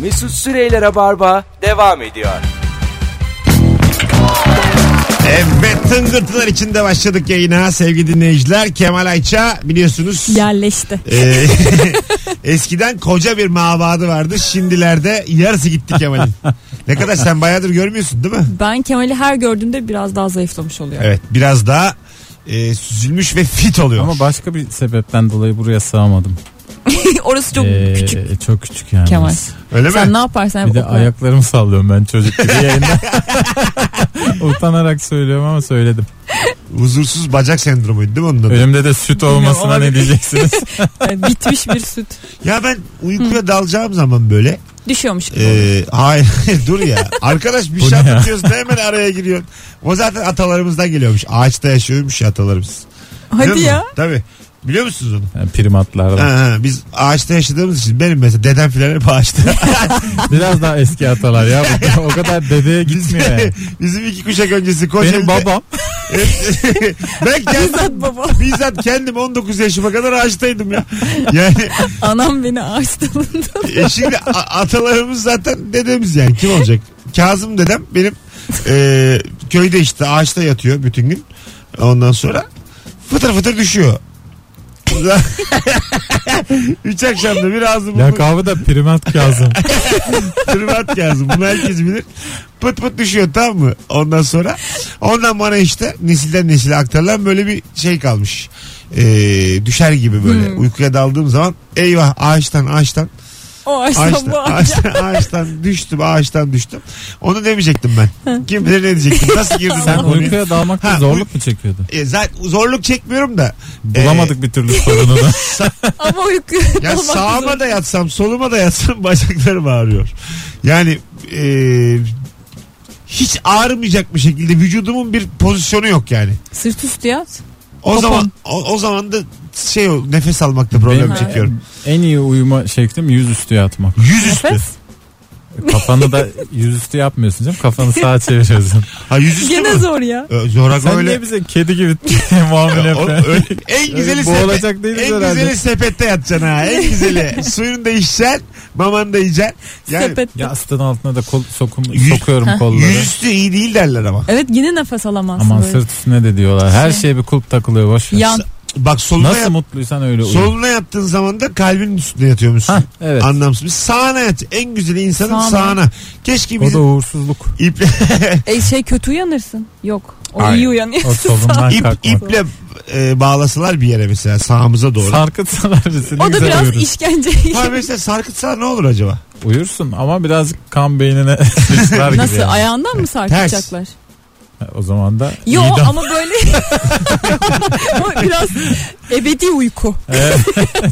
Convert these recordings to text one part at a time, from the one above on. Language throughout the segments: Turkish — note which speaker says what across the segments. Speaker 1: Mesut Süreyler'e barba devam ediyor.
Speaker 2: Evet tıngırtılar içinde başladık yayına sevgili dinleyiciler. Kemal Ayça biliyorsunuz
Speaker 3: Yerleşti.
Speaker 2: e, eskiden koca bir mavadı vardı. Şimdilerde yarısı gitti Kemal'in. Ne kadar sen bayağıdır görmüyorsun değil mi?
Speaker 3: Ben Kemal'i her gördüğümde biraz daha zayıflamış oluyor.
Speaker 2: Evet biraz daha e, süzülmüş ve fit oluyor.
Speaker 4: Ama başka bir sebepten dolayı buraya sığamadım.
Speaker 3: Orası çok
Speaker 4: Ee,
Speaker 3: küçük
Speaker 4: Çok küçük yani.
Speaker 3: Kemal.
Speaker 2: Öyle mi?
Speaker 3: Sen ne yaparsan yap
Speaker 4: Bir de
Speaker 3: okula.
Speaker 4: ayaklarımı sallıyorum ben çocuk gibi yayında. Utanarak söylüyorum ama söyledim.
Speaker 2: Huzursuz bacak sendromuydu değil mi onun adı?
Speaker 4: Önümde de süt olmasına ne
Speaker 3: olabilir.
Speaker 4: diyeceksiniz?
Speaker 3: Yani bitmiş bir süt.
Speaker 2: Ya ben uykuya dalacağım zaman böyle
Speaker 3: Düşüyormuş gibi.
Speaker 4: Ee,
Speaker 3: oluyor.
Speaker 2: e, hayır dur ya arkadaş bir
Speaker 4: Bu
Speaker 2: şey
Speaker 4: ne ya?
Speaker 2: anlatıyorsun da hemen araya giriyorsun. O zaten atalarımızdan geliyormuş. Ağaçta yaşıyormuş ya atalarımız.
Speaker 3: Hadi
Speaker 2: Biliyor
Speaker 3: ya.
Speaker 2: musun? Tabii. Biliyor musunuz onu?
Speaker 4: Yani primatlardan.
Speaker 2: Ha, ha, biz ağaçta yaşadığımız için benim mesela dedem filan hep ağaçta.
Speaker 4: Biraz daha eski atalar ya. Bu- O kadar dedeye gitmiyor yani.
Speaker 2: Bizim iki kuşak öncesi Kocaeli'de.
Speaker 4: Benim babam
Speaker 2: ben
Speaker 3: Bizzat
Speaker 2: kendim,
Speaker 3: baba.
Speaker 2: bizzat kendim 19 yaşıma kadar ağaçtaydım ya. Yani
Speaker 3: Anam beni ağaç dalında.
Speaker 2: e, şimdi a- atalarımız zaten dedemiz yani kim olacak? Kazım dedem benim e, köyde işte ağaçta yatıyor bütün gün. Ondan sonra fıtır fıtır düşüyor. Üç akşamda bir ağzı burnu-
Speaker 4: lakabı da primat Kazım.
Speaker 2: Privat Kazım. Bunu herkes bilir. Pıt pıt düşüyor tamam mı? Ondan sonra ondan bana işte nesilden nesile aktarılan böyle bir şey kalmış. Ee, düşer gibi böyle uykuya daldığım zaman eyvah ağaçtan ağaçtan
Speaker 3: O ağaçtan
Speaker 2: ağaçtan
Speaker 3: bu ağaç.
Speaker 2: ağaçtan, ağaçtan düştüm ağaçtan düştüm. Onu demeyecektim ben. Kim bilir ne diyecektim. Nasıl girdim
Speaker 4: Sen
Speaker 2: bu konuya?
Speaker 4: uykuya dalmakta
Speaker 2: Ha,
Speaker 4: zorluk mu çekiyordun?
Speaker 2: E, zaten zorluk çekmiyorum da. E,
Speaker 4: Bulamadık bir türlü sorununu.
Speaker 3: Ama uyku.
Speaker 2: Ya
Speaker 3: dalmak
Speaker 2: sağıma
Speaker 3: zorunda.
Speaker 2: da yatsam soluma da yatsam bacaklarım ağrıyor. Yani e, hiç ağrımayacak bir şekilde vücudumun bir pozisyonu yok yani.
Speaker 3: Sırt üstü yat.
Speaker 2: O
Speaker 3: Popom.
Speaker 2: zaman o, o zaman da şey o, nefes almakta problem
Speaker 4: Benim-
Speaker 2: çekiyorum.
Speaker 4: En iyi uyuma şeklim yüzüstü yatmak.
Speaker 2: Yüzüstü.
Speaker 3: Nefes.
Speaker 4: Kafanı da yüzüstü yapmıyorsun canım. Kafanı sağa çeviriyorsun.
Speaker 2: Ha yüzüstü
Speaker 3: Gene
Speaker 2: mü?
Speaker 3: zor ya.
Speaker 2: Ö, Zorak
Speaker 4: Sen
Speaker 2: öyle.
Speaker 4: niye bize kedi gibi muamele
Speaker 2: O-
Speaker 4: yapıyorsun?
Speaker 2: öyle- en güzeli
Speaker 4: Öyle boğulacak değiliz
Speaker 2: en
Speaker 4: herhalde.
Speaker 2: güzeli sepette yatacaksın ha. En güzeli. Suyunu da içeceksin, mamanı da yiyeceksin. Yani
Speaker 3: Sepet.
Speaker 4: Yastığın altına da kol, sokum,
Speaker 2: Yüz-
Speaker 4: sokuyorum kolları.
Speaker 2: yüzüstü iyi değil derler ama.
Speaker 3: Evet yine nefes alamazsın
Speaker 4: Aman
Speaker 3: böyle.
Speaker 4: sırt üstüne de diyorlar. Her
Speaker 3: Şey.
Speaker 4: şeye bir kulp takılıyor boş ver.
Speaker 3: Yan.
Speaker 2: Bak soluna
Speaker 4: Nasıl
Speaker 2: yat-
Speaker 4: mutluysan öyle uyu.
Speaker 2: Soluna yattığın zaman da kalbinin üstüne yatıyormuşsun.
Speaker 4: Hah, evet.
Speaker 2: Anlamsız. Bir Sağına yat. En güzeli insanın sağına.
Speaker 3: Sağına.
Speaker 2: Keşke
Speaker 4: O da
Speaker 2: bizim
Speaker 4: uğursuzluk.
Speaker 2: iple,
Speaker 3: E, şey kötü uyanırsın. Yok. O
Speaker 2: Hayır.
Speaker 3: iyi
Speaker 4: O
Speaker 3: uyanıyorsun.
Speaker 4: solundan
Speaker 2: ip,
Speaker 4: kalkmak.
Speaker 2: iple e, bağlasalar bir yere mesela sağımıza doğru.
Speaker 4: Sarkıtsalar bizi ne
Speaker 3: o da
Speaker 4: güzel
Speaker 3: biraz
Speaker 4: uyuruz.
Speaker 3: işkence.
Speaker 2: Ha mesela sarkıtsa ne olur acaba?
Speaker 4: Uyursun ama birazcık kan beynine sıçrar gibi.
Speaker 3: Nasıl
Speaker 4: yani.
Speaker 3: ayağından mı sarkacaklar?
Speaker 4: O zaman da
Speaker 3: Yo
Speaker 4: iyi de-
Speaker 3: ama böyle O biraz ebedi uyku.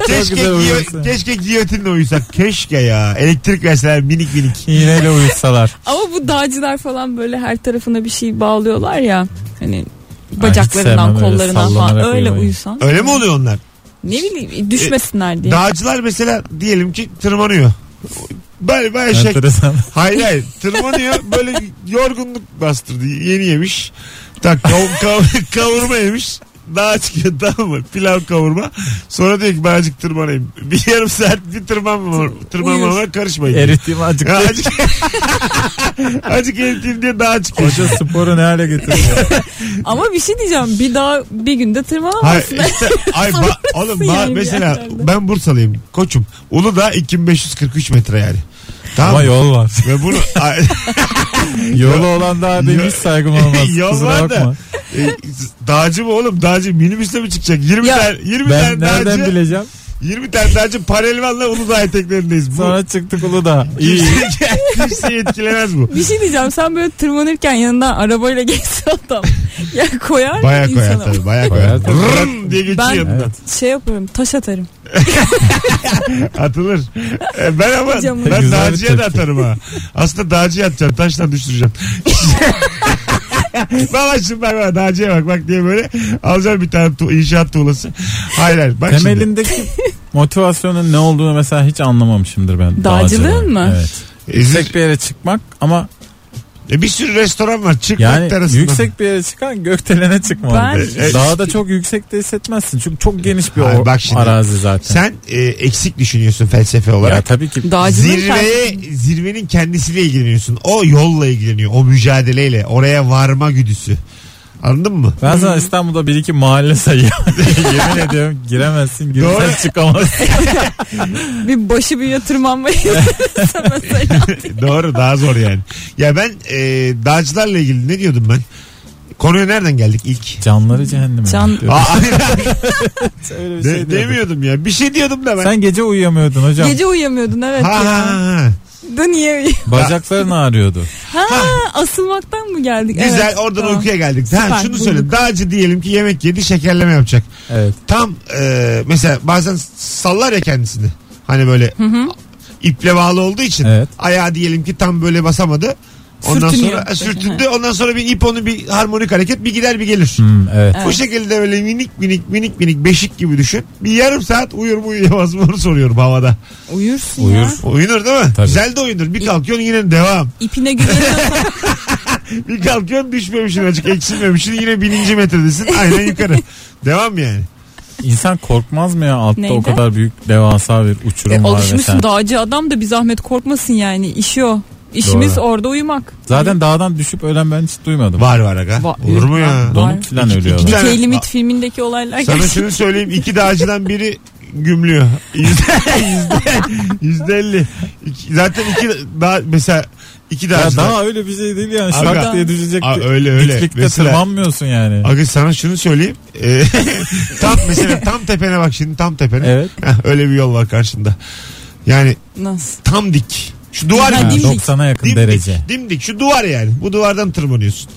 Speaker 2: Keşke,
Speaker 4: güzel
Speaker 2: giyo-
Speaker 4: uyursun.
Speaker 2: keşke giyotinle uyusak. Keşke ya. Elektrik verseler minik minik.
Speaker 4: iğneyle uyutsalar.
Speaker 3: Ama bu dağcılar falan böyle her tarafına bir şey bağlıyorlar ya. Hani
Speaker 4: sevmem
Speaker 3: bacaklarından,
Speaker 4: öyle
Speaker 3: kollarından falan
Speaker 4: sallanarak
Speaker 3: öyle
Speaker 4: uyumayı.
Speaker 3: uyusan.
Speaker 2: Öyle mi oluyor onlar?
Speaker 3: Ne bileyim düşmesinler diye.
Speaker 2: Dağcılar mesela diyelim ki tırmanıyor. Böyle böyle şey.
Speaker 4: Enteresan.
Speaker 2: Hayır hayır tırmanıyor böyle yorgunluk bastırdı yeni yemiş tak kav- kav- kavurma yemiş daha çıkıyor tamam mı pilav kavurma sonra diyor ki ben azıcık tırmanayım bir yarım saat bir tırmanmama, tırmanmama karışmayın diyor.
Speaker 4: Erittiğimi acık.
Speaker 2: Ya Azıcık, azıcık eriteyim diye daha çıkıyor.
Speaker 4: Hoca sporu ne hale getiriyor?
Speaker 3: Ama bir şey diyeceğim. Bir daha bir günde
Speaker 2: Hayır
Speaker 3: tırmanamazsın.
Speaker 2: işte ay ba- oğlum ba-
Speaker 3: yani bir
Speaker 2: mesela
Speaker 3: yerlerde.
Speaker 2: ben Bursalıyım koçum Uludağ 2543 metre yani. Tamam
Speaker 4: Ama
Speaker 2: mı?
Speaker 4: yol var.
Speaker 2: Ve bunu
Speaker 4: Yolu olan daha benim hiç saygım olmaz.
Speaker 2: Yol
Speaker 4: Kusura
Speaker 2: var da.
Speaker 4: bakma.
Speaker 2: E, dağcı mı oğlum? Dağcı minibüsle mi çıkacak? 20
Speaker 3: Ya,
Speaker 2: tane 20
Speaker 4: Ben
Speaker 2: tane
Speaker 4: nereden
Speaker 2: dağcı.
Speaker 4: bileceğim?
Speaker 2: 20 tane dağcı paralelvanla Uludağ eteklerindeyiz. Bu
Speaker 4: Sonra çıktık Uludağ. İyi.
Speaker 2: kimse, kimse etkilemez bu.
Speaker 3: Bir şey diyeceğim. Sen böyle tırmanırken yanından arabayla geçse adam. ya koyar mı
Speaker 2: Baya koyar
Speaker 3: insana?
Speaker 2: tabii baya
Speaker 4: Koyar
Speaker 2: koyar.
Speaker 4: tabii.
Speaker 2: Vrrm diye geçiyor
Speaker 3: Ben-
Speaker 2: yanından.
Speaker 4: Evet.
Speaker 3: Şey yaparım. Taş atarım.
Speaker 2: Atılır. E, Ben ama
Speaker 3: Camı.
Speaker 2: ben
Speaker 4: Güzel bir
Speaker 2: dağcıya da
Speaker 4: tepki.
Speaker 2: atarım ha. Aslında dağcıya atacağım. Taştan düşüreceğim. Baba şimdi bak bak dağcıya bak bak diye böyle alacağım bir tane tu- inşaat tuğlası. Hayır hayır bak şimdi.
Speaker 4: Temelindeki motivasyonun ne olduğunu mesela hiç anlamamışımdır ben.
Speaker 3: Dağcılığın
Speaker 4: dağcılığın.
Speaker 3: mı?
Speaker 4: Evet.
Speaker 2: Ezir-
Speaker 4: Tek bir yere çıkmak ama
Speaker 2: E bir sürü restoran var. Çık yani,
Speaker 4: Yani
Speaker 2: terasından.
Speaker 4: yüksek bir yere çıkan gökdelene çıkma.
Speaker 3: Ben-
Speaker 4: orada. Dağda çok yüksekte hissetmezsin. Çünkü çok geniş bir
Speaker 2: Hayır,
Speaker 4: o-
Speaker 2: bak şimdi.
Speaker 4: arazi zaten.
Speaker 2: Sen e, eksik düşünüyorsun felsefe
Speaker 4: ya
Speaker 2: olarak.
Speaker 4: tabii ki
Speaker 3: Dağcılık
Speaker 2: Zirveye, zirvenin kendisiyle ilgileniyorsun. O yolla ilgileniyor. O mücadeleyle. Oraya varma güdüsü. Anladın mı?
Speaker 4: Ben sana İstanbul'da bir iki mahalle sayıyorum. Yemin ediyorum giremezsin, girsen
Speaker 2: Doğru.
Speaker 4: çıkamazsın.
Speaker 3: bir başı büyüye tırmanmayı mesela.
Speaker 2: Doğru daha zor yani. Ya ben e, dağcılarla ilgili ne diyordum ben? Konuya nereden geldik ilk?
Speaker 4: Canları cehenneme.
Speaker 3: Can-
Speaker 4: Diyorum.
Speaker 2: Aa, hayır,
Speaker 4: Öyle bir
Speaker 2: de-
Speaker 4: şey diyordum.
Speaker 2: demiyordum ya. Bir şey diyordum da ben.
Speaker 4: Sen gece uyuyamıyordun hocam.
Speaker 3: Gece uyuyamıyordun evet
Speaker 2: ha, ha,
Speaker 3: ya.
Speaker 2: ha.
Speaker 3: Da niye uyuyor-
Speaker 4: Bacakların ağrıyordu.
Speaker 3: Ha, asılmaktan mı geldik?
Speaker 2: Güzel
Speaker 3: evet,
Speaker 2: oradan
Speaker 3: tamam.
Speaker 2: uykuya geldik. Ha,
Speaker 3: Süper,
Speaker 2: şunu
Speaker 3: bulduk.
Speaker 2: söyle. Dağcı diyelim ki yemek yedi şekerleme yapacak.
Speaker 4: Evet.
Speaker 2: Tam e, mesela bazen sallar ya kendisini. Hani böyle iple bağlı olduğu için
Speaker 4: Evet.
Speaker 2: ayağı diyelim ki tam böyle basamadı. Ondan
Speaker 3: Sürtünüyor.
Speaker 2: sonra e, sürtündü. Ondan sonra bir ip onu bir harmonik hareket bir gider bir gelir.
Speaker 4: Hmm, evet.
Speaker 2: Bu şekilde böyle minik minik minik minik beşik gibi düşün. Bir yarım saat uyur mu uyuyamaz mı onu soruyorum havada.
Speaker 3: Uyursun
Speaker 4: Uyur.
Speaker 3: ya.
Speaker 2: Uyunur değil mi?
Speaker 4: Tabii.
Speaker 2: Güzel de uyunur. Bir kalkıyorsun yine devam.
Speaker 3: İpine güveniyorsan
Speaker 2: Bir kalkıyorsun düşmemişsin açık eksilmemişsin yine bininci metredesin. Aynen yukarı. devam yani.
Speaker 4: İnsan korkmaz mı ya altta
Speaker 3: Neydi?
Speaker 4: o kadar büyük devasa bir uçurum
Speaker 3: E,
Speaker 4: var
Speaker 3: alışmışsın
Speaker 4: vesaire.
Speaker 3: dağcı adam da bir zahmet korkmasın yani. İşi o. İşimiz
Speaker 4: Doğru.
Speaker 3: orada uyumak.
Speaker 4: Zaten dağdan düşüp ölen ben hiç duymadım.
Speaker 2: Var var aga.
Speaker 3: Va-
Speaker 2: Olur mu ya?
Speaker 3: Var.
Speaker 4: Donup falan ölüyorlar.
Speaker 2: iki-
Speaker 3: Dikey
Speaker 2: Yani-
Speaker 3: Limit filmindeki olaylar
Speaker 2: Sana
Speaker 3: gerçekten.
Speaker 2: şunu söyleyeyim iki dağcıdan biri gümlüyor. Yüzde, yüzde, yüzde elli. İki- Zaten iki dağ mesela iki
Speaker 4: Ya
Speaker 2: dağcıdan.
Speaker 4: daha öyle bir şey değil yani.
Speaker 2: Abi-
Speaker 4: Şak diye düşecek.
Speaker 2: Aa,
Speaker 4: di-
Speaker 2: öyle, öyle.
Speaker 4: Diklikte
Speaker 2: Mesela-
Speaker 4: tırmanmıyorsun yani.
Speaker 2: Aga sana şunu söyleyeyim. Ee, tam mesela tam tepene bak şimdi tam tepene.
Speaker 4: Evet.
Speaker 2: Heh, öyle bir yol var karşında. Yani
Speaker 3: Nasıl?
Speaker 2: tam dik. Şu duvar
Speaker 3: Ha,
Speaker 4: Ha,
Speaker 2: gibi.
Speaker 3: dimdik.
Speaker 4: 90'a yakın
Speaker 2: Dimdik,
Speaker 4: derece.
Speaker 2: dimdik. Şu duvar yani. Bu duvardan tırmanıyorsun.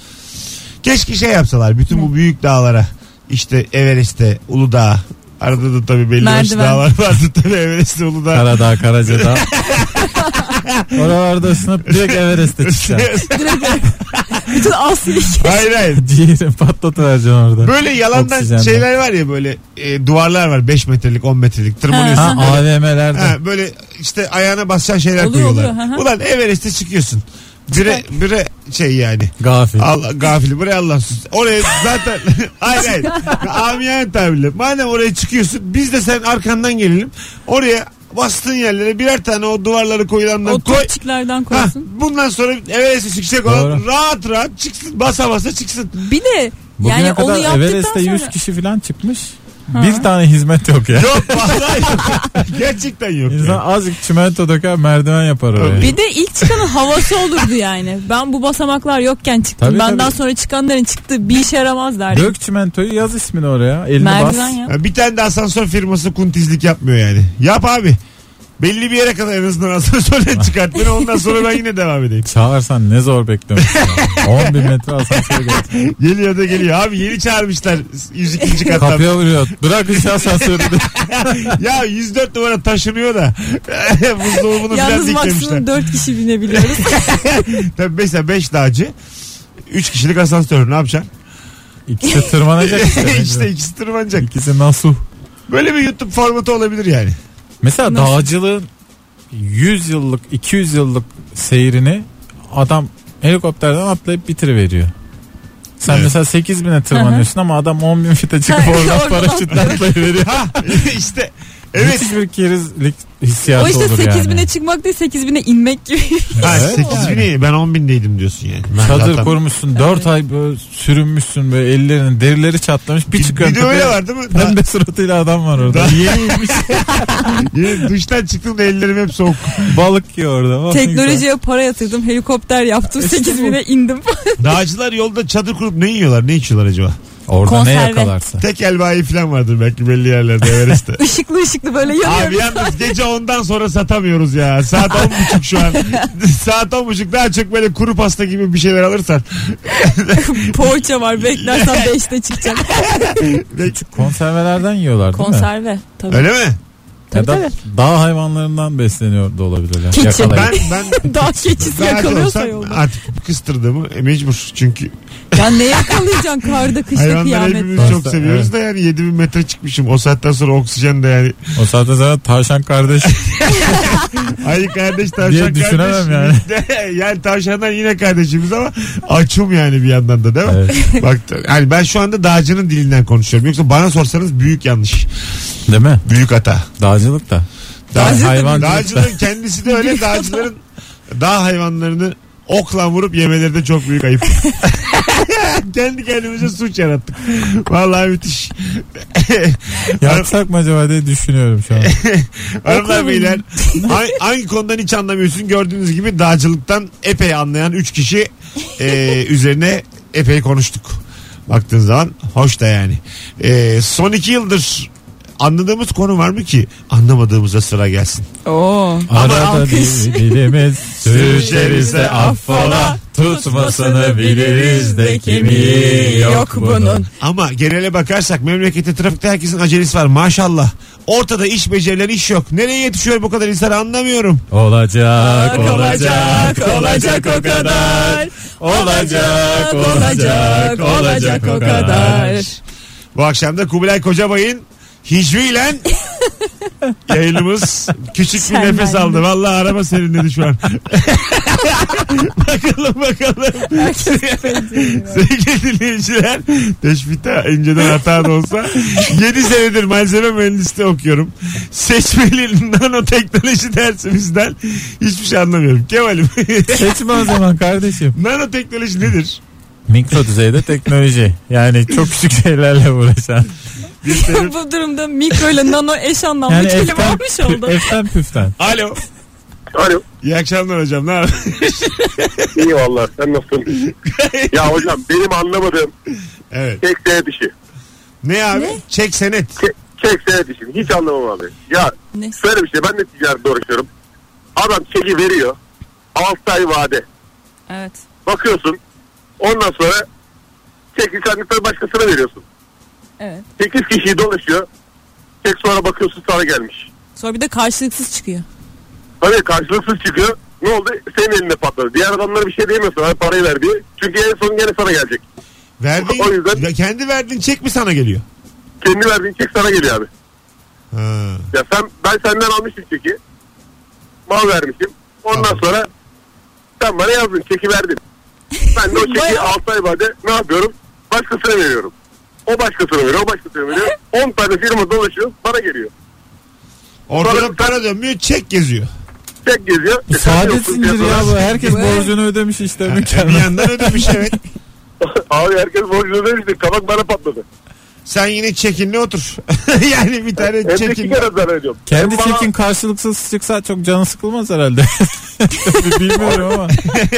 Speaker 2: Keşke şey yapsalar. Bütün bu büyük dağlara. işte Everest'e, Uludağ. Arada da tabii belli başlı
Speaker 3: Merdiven.
Speaker 2: dağlar vardı tabii Everest'te, Uludağ.
Speaker 4: Karadağ, Karacadağ. Oralarda ısınıp direkt Everest'e çıkacaksın.
Speaker 3: Bütün Asya'yı
Speaker 2: hayır hayır.
Speaker 4: Ciğerini patlatıvereceksin orada.
Speaker 2: Böyle yalandan
Speaker 4: Oksijenden.
Speaker 2: şeyler var ya böyle e, duvarlar var 5 metrelik 10 metrelik tırmanıyorsun.
Speaker 4: Ha
Speaker 3: Ha,
Speaker 4: AVM'lerde.
Speaker 2: Ha, böyle işte ayağına basacağın şeyler
Speaker 3: Oluyor,
Speaker 2: koyuyorlar.
Speaker 3: oluyor, hı hı.
Speaker 2: Ulan Everest'e çıkıyorsun. Bire, bire şey yani.
Speaker 4: Gafil.
Speaker 2: Allah, gafili buraya Allah sus. Oraya zaten hayır hayır. Amiyane tabirle. Madem oraya çıkıyorsun biz de sen arkandan gelelim. Oraya bastığın yerlere birer tane o duvarları koyulandan
Speaker 3: o
Speaker 2: koy.
Speaker 3: topçiklerden
Speaker 2: Hah,
Speaker 3: korusun.
Speaker 2: bundan sonra Everest'e çıkacak olan
Speaker 4: Doğru.
Speaker 2: rahat rahat çıksın basa basa çıksın.
Speaker 3: Bir de
Speaker 4: Bugüne
Speaker 3: yani onu
Speaker 4: kadar
Speaker 3: yaptıktan
Speaker 4: Everest'te 100
Speaker 3: sonra
Speaker 4: kişi falan çıkmış. Bir tane hizmet yok ya.
Speaker 2: Yok vallahi yok. Gerçekten yok.
Speaker 4: İnsan
Speaker 2: yani.
Speaker 4: azıcık çimento döker merdiven yapar oraya.
Speaker 2: Tabii.
Speaker 3: bir de ilk çıkanın havası olurdu yani. Ben bu basamaklar yokken çıktım.
Speaker 4: Tabii,
Speaker 3: Benden
Speaker 4: tabii.
Speaker 3: sonra çıkanların çıktığı bir işe yaramaz derdi.
Speaker 4: Dök çimentoyu yaz ismini oraya. Elini
Speaker 3: Merdiven
Speaker 4: bas.
Speaker 3: ya.
Speaker 2: Ha, Bir tane de asansör firması kuntizlik yapmıyor yani. Yap abi. Belli bir yere kadar en azından asansörden çıkart beni ondan sonra ben yine devam edeyim.
Speaker 4: Çağırsan ne zor bekliyorsun. 10 bin metre asansöre gelecek.
Speaker 2: Geliyor da geliyor. Abi yeni çağırmışlar 102. kattan.
Speaker 4: Kapıya vuruyor. Bırak işte asansörü. de.
Speaker 2: Ya 104 numara taşınıyor da buzdolabını biraz
Speaker 3: Yalnız
Speaker 2: diklemişler.
Speaker 3: maksimum 4 kişi binebiliyoruz.
Speaker 2: Tabii mesela 5 dağcı 3 kişilik asansör ne yapacaksın?
Speaker 4: İkisi tırmanacak işte.
Speaker 2: işte ikisi tırmanacak.
Speaker 4: İkisi nasuh.
Speaker 2: Böyle bir YouTube formatı olabilir yani.
Speaker 4: Mesela
Speaker 3: Nasıl?
Speaker 4: dağcılığın 100 yıllık 200 yıllık seyrini adam helikopterden atlayıp bitiriveriyor. Sen
Speaker 2: Evet.
Speaker 4: mesela 8 bine tırmanıyorsun ama adam 10 bin fite çıkıp
Speaker 3: Evet,
Speaker 4: oradan
Speaker 3: oradan
Speaker 4: paraşütle atlayıveriyor.
Speaker 2: işte
Speaker 4: Evet.
Speaker 2: evet.
Speaker 4: Müthiş bir kerizlik
Speaker 3: o
Speaker 4: hissiyatı
Speaker 3: işte
Speaker 4: olur
Speaker 3: 8000'e
Speaker 4: yani.
Speaker 3: çıkmak değil 8000'e inmek gibi.
Speaker 2: Ha,
Speaker 4: Evet.
Speaker 2: 8 bini ben 10 bindeydim diyorsun yani. Ben
Speaker 4: Çadır
Speaker 2: zaten-
Speaker 4: kurmuşsun 4 ay böyle sürünmüşsün böyle ellerinin derileri çatlamış bir
Speaker 2: bir,
Speaker 4: çıkıyorsun.
Speaker 2: bir de öyle var değil mi? Daha,
Speaker 4: Pembe suratıyla adam var orada.
Speaker 2: Daha-
Speaker 4: Yeniymiş.
Speaker 2: yeni duştan çıktığımda ellerim hep soğuk.
Speaker 4: Balık yiyor orada. Bak ne güzel.
Speaker 3: Teknolojiye para yatırdım, helikopter yaptım,
Speaker 4: İşte
Speaker 3: 8000'e indim.
Speaker 2: Dağcılar yolda çadır kurup ne yiyorlar ne içiyorlar acaba?
Speaker 4: Orada ne
Speaker 3: konserve.
Speaker 4: yakalarsa.
Speaker 2: Tek el bayi falan vardır belki belli yerlerde Everest'te.
Speaker 3: Işıklı ışıklı böyle
Speaker 2: Abi
Speaker 3: yanıyorum.
Speaker 2: yalnız gece ondan sonra satamıyoruz ya. Saat on buçuk şu an. Saat on buçuk daha çok böyle kuru pasta gibi bir şeyler alırsan.
Speaker 3: Poğaça var beklersen 5'te çıkacak.
Speaker 4: Küçük konservelerden yiyorlar değil mi?
Speaker 3: Konserve tabii.
Speaker 2: Öyle mi?
Speaker 4: Ya
Speaker 3: Tabii,
Speaker 4: da dağ hayvanlarından besleniyor da olabilirler.
Speaker 3: Keçi.
Speaker 4: Yakalayıp.
Speaker 2: Ben ben
Speaker 3: Dağ keçisi
Speaker 2: dağcı
Speaker 3: yakalıyorsa
Speaker 2: olsam
Speaker 3: yolda.
Speaker 2: artık kıstırdığımı e, mecbur çünkü
Speaker 3: Ya ne yakalayacaksın karda kışta
Speaker 2: Hayvanları
Speaker 3: kıyamet.
Speaker 2: hepimiz çok
Speaker 4: Pasta,
Speaker 2: seviyoruz
Speaker 4: evet.
Speaker 2: da yani 7000 metre çıkmışım. O saatten sonra oksijen de yani.
Speaker 4: O saatte zaten tavşan kardeş
Speaker 2: Ay kardeş tavşan
Speaker 4: Diye düşünemem
Speaker 2: kardeş.
Speaker 4: yani.
Speaker 2: yani. tavşanlar yine kardeşimiz ama açım yani bir yandan da değil mi?
Speaker 4: Evet.
Speaker 2: Bak yani ben şu anda dağcının dilinden konuşuyorum. Yoksa bana sorsanız büyük yanlış.
Speaker 4: değil mi?
Speaker 2: Büyük hata.
Speaker 4: Dağcılık da.
Speaker 2: Dağcı-
Speaker 4: hayvancılık da.
Speaker 2: Dağcının kendisi de öyle. Dağcıların dağ hayvanlarını okla vurup yemeleri de çok büyük ayıp. Kendi kendimize suç yarattık. Vallahi müthiş.
Speaker 4: Yapsak mı acaba diye düşünüyorum şu an.
Speaker 2: Hanımlar
Speaker 3: Okla
Speaker 2: beyler hangi, hangi konudan hiç anlamıyorsun gördüğünüz gibi dağcılıktan epey anlayan 3 kişi e, üzerine epey konuştuk. Baktığın zaman hoş da yani. E, son 2 yıldır anladığımız konu var mı ki anlamadığımıza sıra gelsin.
Speaker 3: Oo.
Speaker 4: Arada
Speaker 3: alkış.
Speaker 4: bir dilimiz sürçeriz de affola tutmasını biliriz de kemiği yok bunun.
Speaker 2: Ama genele bakarsak memlekette trafikte herkesin acelesi var maşallah. Ortada iş becerileri iş yok. Nereye yetişiyor bu kadar insan anlamıyorum.
Speaker 4: Olacak olacak olacak o kadar. Olacak olacak olacak o kadar.
Speaker 2: Bu akşam da Kubilay Kocabay'ın hicviyle yayınımız küçük bir
Speaker 3: Sen
Speaker 2: nefes
Speaker 3: ben
Speaker 2: aldı.
Speaker 3: de.
Speaker 2: Vallahi araba serinledi şu an. bakalım bakalım. Sevgili dinleyiciler teşbihte inceden hata da olsa 7 senedir malzeme mühendisliği okuyorum. Seçmeli nanoteknoloji dersimizden hiçbir şey anlamıyorum. Kemal'im
Speaker 4: Seçme o zaman kardeşim.
Speaker 2: nanoteknoloji nedir?
Speaker 4: Mikro düzeyde teknoloji. Yani çok küçük şeylerle uğraşan.
Speaker 3: Bu durumda mikro ile nano eş anlamlı
Speaker 4: Yani
Speaker 3: kelime
Speaker 4: eften,
Speaker 3: olmuş oldu.
Speaker 4: eften püften.
Speaker 2: Alo.
Speaker 5: Alo.
Speaker 2: İyi akşamlar hocam. Ne haber?
Speaker 5: iyi valla sen nasılsın? ya hocam benim anlamadığım
Speaker 2: Evet.
Speaker 5: çek senet işi.
Speaker 2: Ne abi?
Speaker 3: Ne?
Speaker 2: Çek senet.
Speaker 5: Çek, çek senet işini hiç anlamam abi. Ya
Speaker 3: Ne?
Speaker 5: şöyle bir şey ben de ticarette uğraşıyorum. Adam çeki veriyor. 6 ay vade.
Speaker 3: Evet.
Speaker 5: Bakıyorsun ondan sonra çeki sen de başkasına veriyorsun.
Speaker 3: Evet.
Speaker 5: 8 kişiyi dolaşıyor. Çek sonra bakıyorsun sana gelmiş.
Speaker 3: Sonra bir de karşılıksız çıkıyor.
Speaker 5: Tabii karşılıksız çıkıyor. Ne oldu? Senin elinde patladı. Diğer adamlara bir şey diyemiyorsun. Hani parayı ver diye. Çünkü en son gene sana gelecek.
Speaker 2: Verdiğin,
Speaker 5: O yüzden-
Speaker 2: Ya kendi verdiğin çek mi sana geliyor?
Speaker 5: Kendi verdiğin çek sana geliyor abi.
Speaker 2: Ha.
Speaker 5: Ya sen ben senden almışım çeki. Mal vermişim. Ondan
Speaker 2: Tamam.
Speaker 5: sonra sen bana yazdın çeki verdin. Ben de o çeki
Speaker 3: Bayağı.
Speaker 5: 6 ay vade ne yapıyorum? Başkasına veriyorum. O başkasına veriyor, o başkasına veriyor. 10 tane firma dolaşıyor, bana geliyor.
Speaker 2: Ortada
Speaker 5: Sonra-
Speaker 2: para dönmüyor çek geziyor.
Speaker 5: Çek geziyor.
Speaker 4: Bu
Speaker 5: E sen
Speaker 4: saadet
Speaker 5: diyorsun,
Speaker 4: zinciri ya bu. Herkes
Speaker 3: Bu-
Speaker 4: borcunu ödemiş işte
Speaker 2: Yani bir
Speaker 4: mükemmel.
Speaker 2: yandan ödemiş evet.
Speaker 5: Abi herkes borcunu vermişti. Kabak bana patladı.
Speaker 2: Sen yine çekinle otur. yani bir tane
Speaker 5: Hem de iki
Speaker 2: çekin.
Speaker 5: kere zarar ediyorum.
Speaker 4: Kendi
Speaker 5: Hem bana-
Speaker 4: çekin karşılıksız çıksa çok canı sıkılmaz herhalde. Bilmiyorum ama.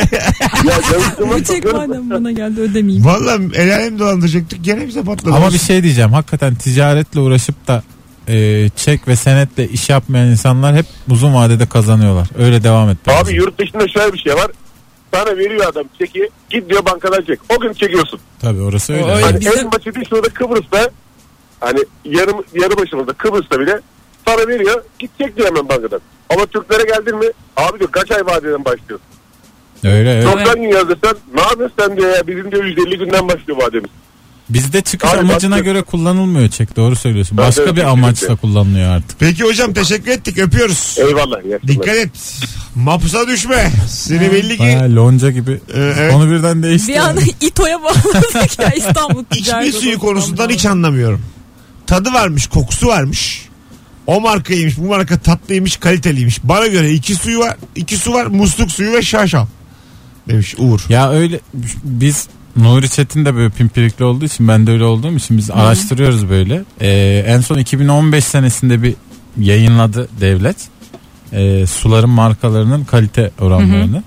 Speaker 5: Ya canım
Speaker 3: Bu çek madem bana geldi ödemeyeyim.
Speaker 2: Valla el alem dolandıracaktık gene bize patladı.
Speaker 4: Ama bir şey diyeceğim. Hakikaten ticaretle uğraşıp da e, çek ve senetle iş yapmayan insanlar hep uzun vadede kazanıyorlar. Öyle devam et. bence.
Speaker 5: Abi yurt dışında şöyle bir şey var. Sana veriyor adam çeki. Git diyor bankadan çek. O gün çekiyorsun.
Speaker 4: Tabii orası öyle.
Speaker 3: O öyle.
Speaker 5: Hani
Speaker 4: Yani.
Speaker 3: Bizim-
Speaker 5: en basiti şurada Kıbrıs'ta hani yarım yarı başımızda Kıbrıs'ta bile para veriyor gidecek diyor hemen bankadan. Ama Türklere geldin mi abi diyor kaç ay vadeden başlıyor.
Speaker 4: Öyle öyle.
Speaker 5: 90 gün yazdırsan ne yapıyorsun sen diyor ya bizim diyor 150 günden başlıyor vademiz.
Speaker 4: Bizde çıkış
Speaker 5: Abi
Speaker 4: amacına
Speaker 5: başka-
Speaker 4: göre kullanılmıyor çek. Doğru söylüyorsun.
Speaker 5: Ben
Speaker 4: Başka
Speaker 5: de-
Speaker 4: bir amaçla kullanılıyor artık.
Speaker 2: Peki hocam teşekkür ettik öpüyoruz.
Speaker 5: Eyvallah. iyi akşamlar.
Speaker 2: Dikkat et. Mapusa düşme. Seni belli ki
Speaker 4: Baya lonca gibi.
Speaker 2: Ee, evet.
Speaker 4: Onu birden değişti.
Speaker 3: Bir an İTO'ya bağladık ya İstanbul
Speaker 2: içme
Speaker 3: Ticaret
Speaker 2: suyu
Speaker 3: Odası'ndan
Speaker 2: konusundan
Speaker 3: bağladık.
Speaker 2: hiç anlamıyorum. Tadı varmış kokusu varmış. O markaymış bu marka tatlıymış kaliteliymiş. Bana göre iki suyu var iki su var musluk suyu ve şaşal. Demiş Uğur.
Speaker 4: Ya öyle biz Nuri Çetin de böyle pimpirikli olduğu için ben de öyle olduğum için biz araştırıyoruz böyle. Ee, en son 2015 senesinde bir yayınladı devlet. Ee, suların markalarının kalite oranlarını.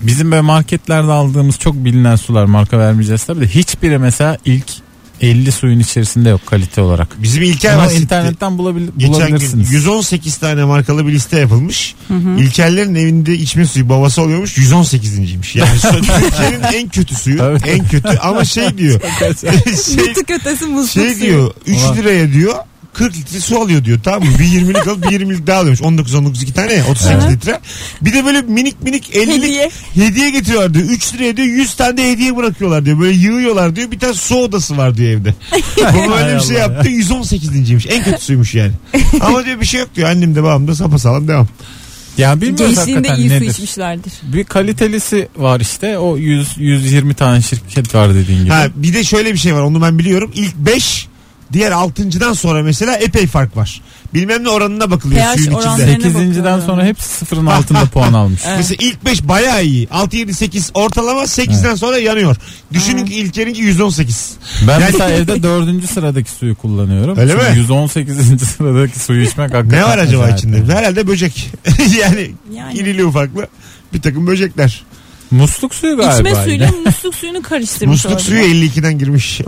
Speaker 4: Bizim böyle marketlerde aldığımız çok bilinen sular marka vermeyeceğiz tabii de hiçbiri mesela ilk 50 suyun içerisinde yok kalite olarak.
Speaker 2: Bizim İlker
Speaker 4: Ama
Speaker 2: bahsetti.
Speaker 4: internetten bulabil-
Speaker 2: Geçen gün
Speaker 4: bulabilirsiniz.
Speaker 2: 118 tane markalı bir liste yapılmış. İlkerlerin evinde içme suyu babası oluyormuş 118.ymiş. Yani so- Türkiye'nin en kötü suyu
Speaker 4: Tabii.
Speaker 2: en kötü ama şey diyor.
Speaker 4: Kaç-
Speaker 2: şey,
Speaker 3: Bir tık ötesi musluk
Speaker 2: şey
Speaker 3: suyu.
Speaker 2: diyor 3
Speaker 4: Ulan.
Speaker 2: liraya diyor 40 litre su alıyor diyor tamam mı? Bir 20'lik alıp bir 20'lik daha alıyormuş. 19 19 iki tane ya, 38 litre. Bir de böyle minik minik 50'lik hediye,
Speaker 3: Hediye.
Speaker 2: getiriyorlar diyor. 3 liraya diyor 100 tane de hediye bırakıyorlar diyor. Böyle yığıyorlar diyor. Bir tane su odası var diyor evde. Baba
Speaker 4: Hay
Speaker 2: öyle bir şey
Speaker 4: Allah ya.
Speaker 2: yaptı. 118.ymiş. En kötüsüymüş yani. Ama diyor bir şey yok diyor. Annem de babam da sapasağlam devam.
Speaker 4: Ya bilmiyoruz
Speaker 3: Gençliğinde
Speaker 4: hakikaten
Speaker 3: iyi su
Speaker 4: nedir.
Speaker 3: içmişlerdir.
Speaker 4: Bir kalitelisi var işte. O 100 120 tane şirket var dediğin gibi.
Speaker 2: Ha, bir de şöyle bir şey var onu ben biliyorum. İlk 5 diğer 6.dan sonra mesela epey fark var. Bilmem ne oranına bakılıyor
Speaker 3: pH
Speaker 2: suyun
Speaker 3: oranları.
Speaker 2: içinde.
Speaker 4: 8.den sonra hepsi sıfırın altında puan almış.
Speaker 2: Mesela ilk 5 bayağı iyi. 6 7 8 ortalama 8'den sonra yanıyor. Düşünün ki ilkerinki 118.
Speaker 4: Ben
Speaker 2: Yani-
Speaker 4: mesela evde dördüncü sıradaki suyu kullanıyorum.
Speaker 2: Öyle
Speaker 4: Çünkü
Speaker 2: mi?
Speaker 4: 118. sıradaki suyu içmek hakikaten.
Speaker 2: Ne var acaba
Speaker 4: acayip.
Speaker 2: içinde? Herhalde böcek. yani,
Speaker 3: Yani.
Speaker 2: irili ufaklı bir takım böcekler.
Speaker 4: Musluk suyu galiba.
Speaker 3: İçme suyla
Speaker 4: yine.
Speaker 3: musluk suyunu karıştırmış
Speaker 2: Musluk suyu 52'den girmiş.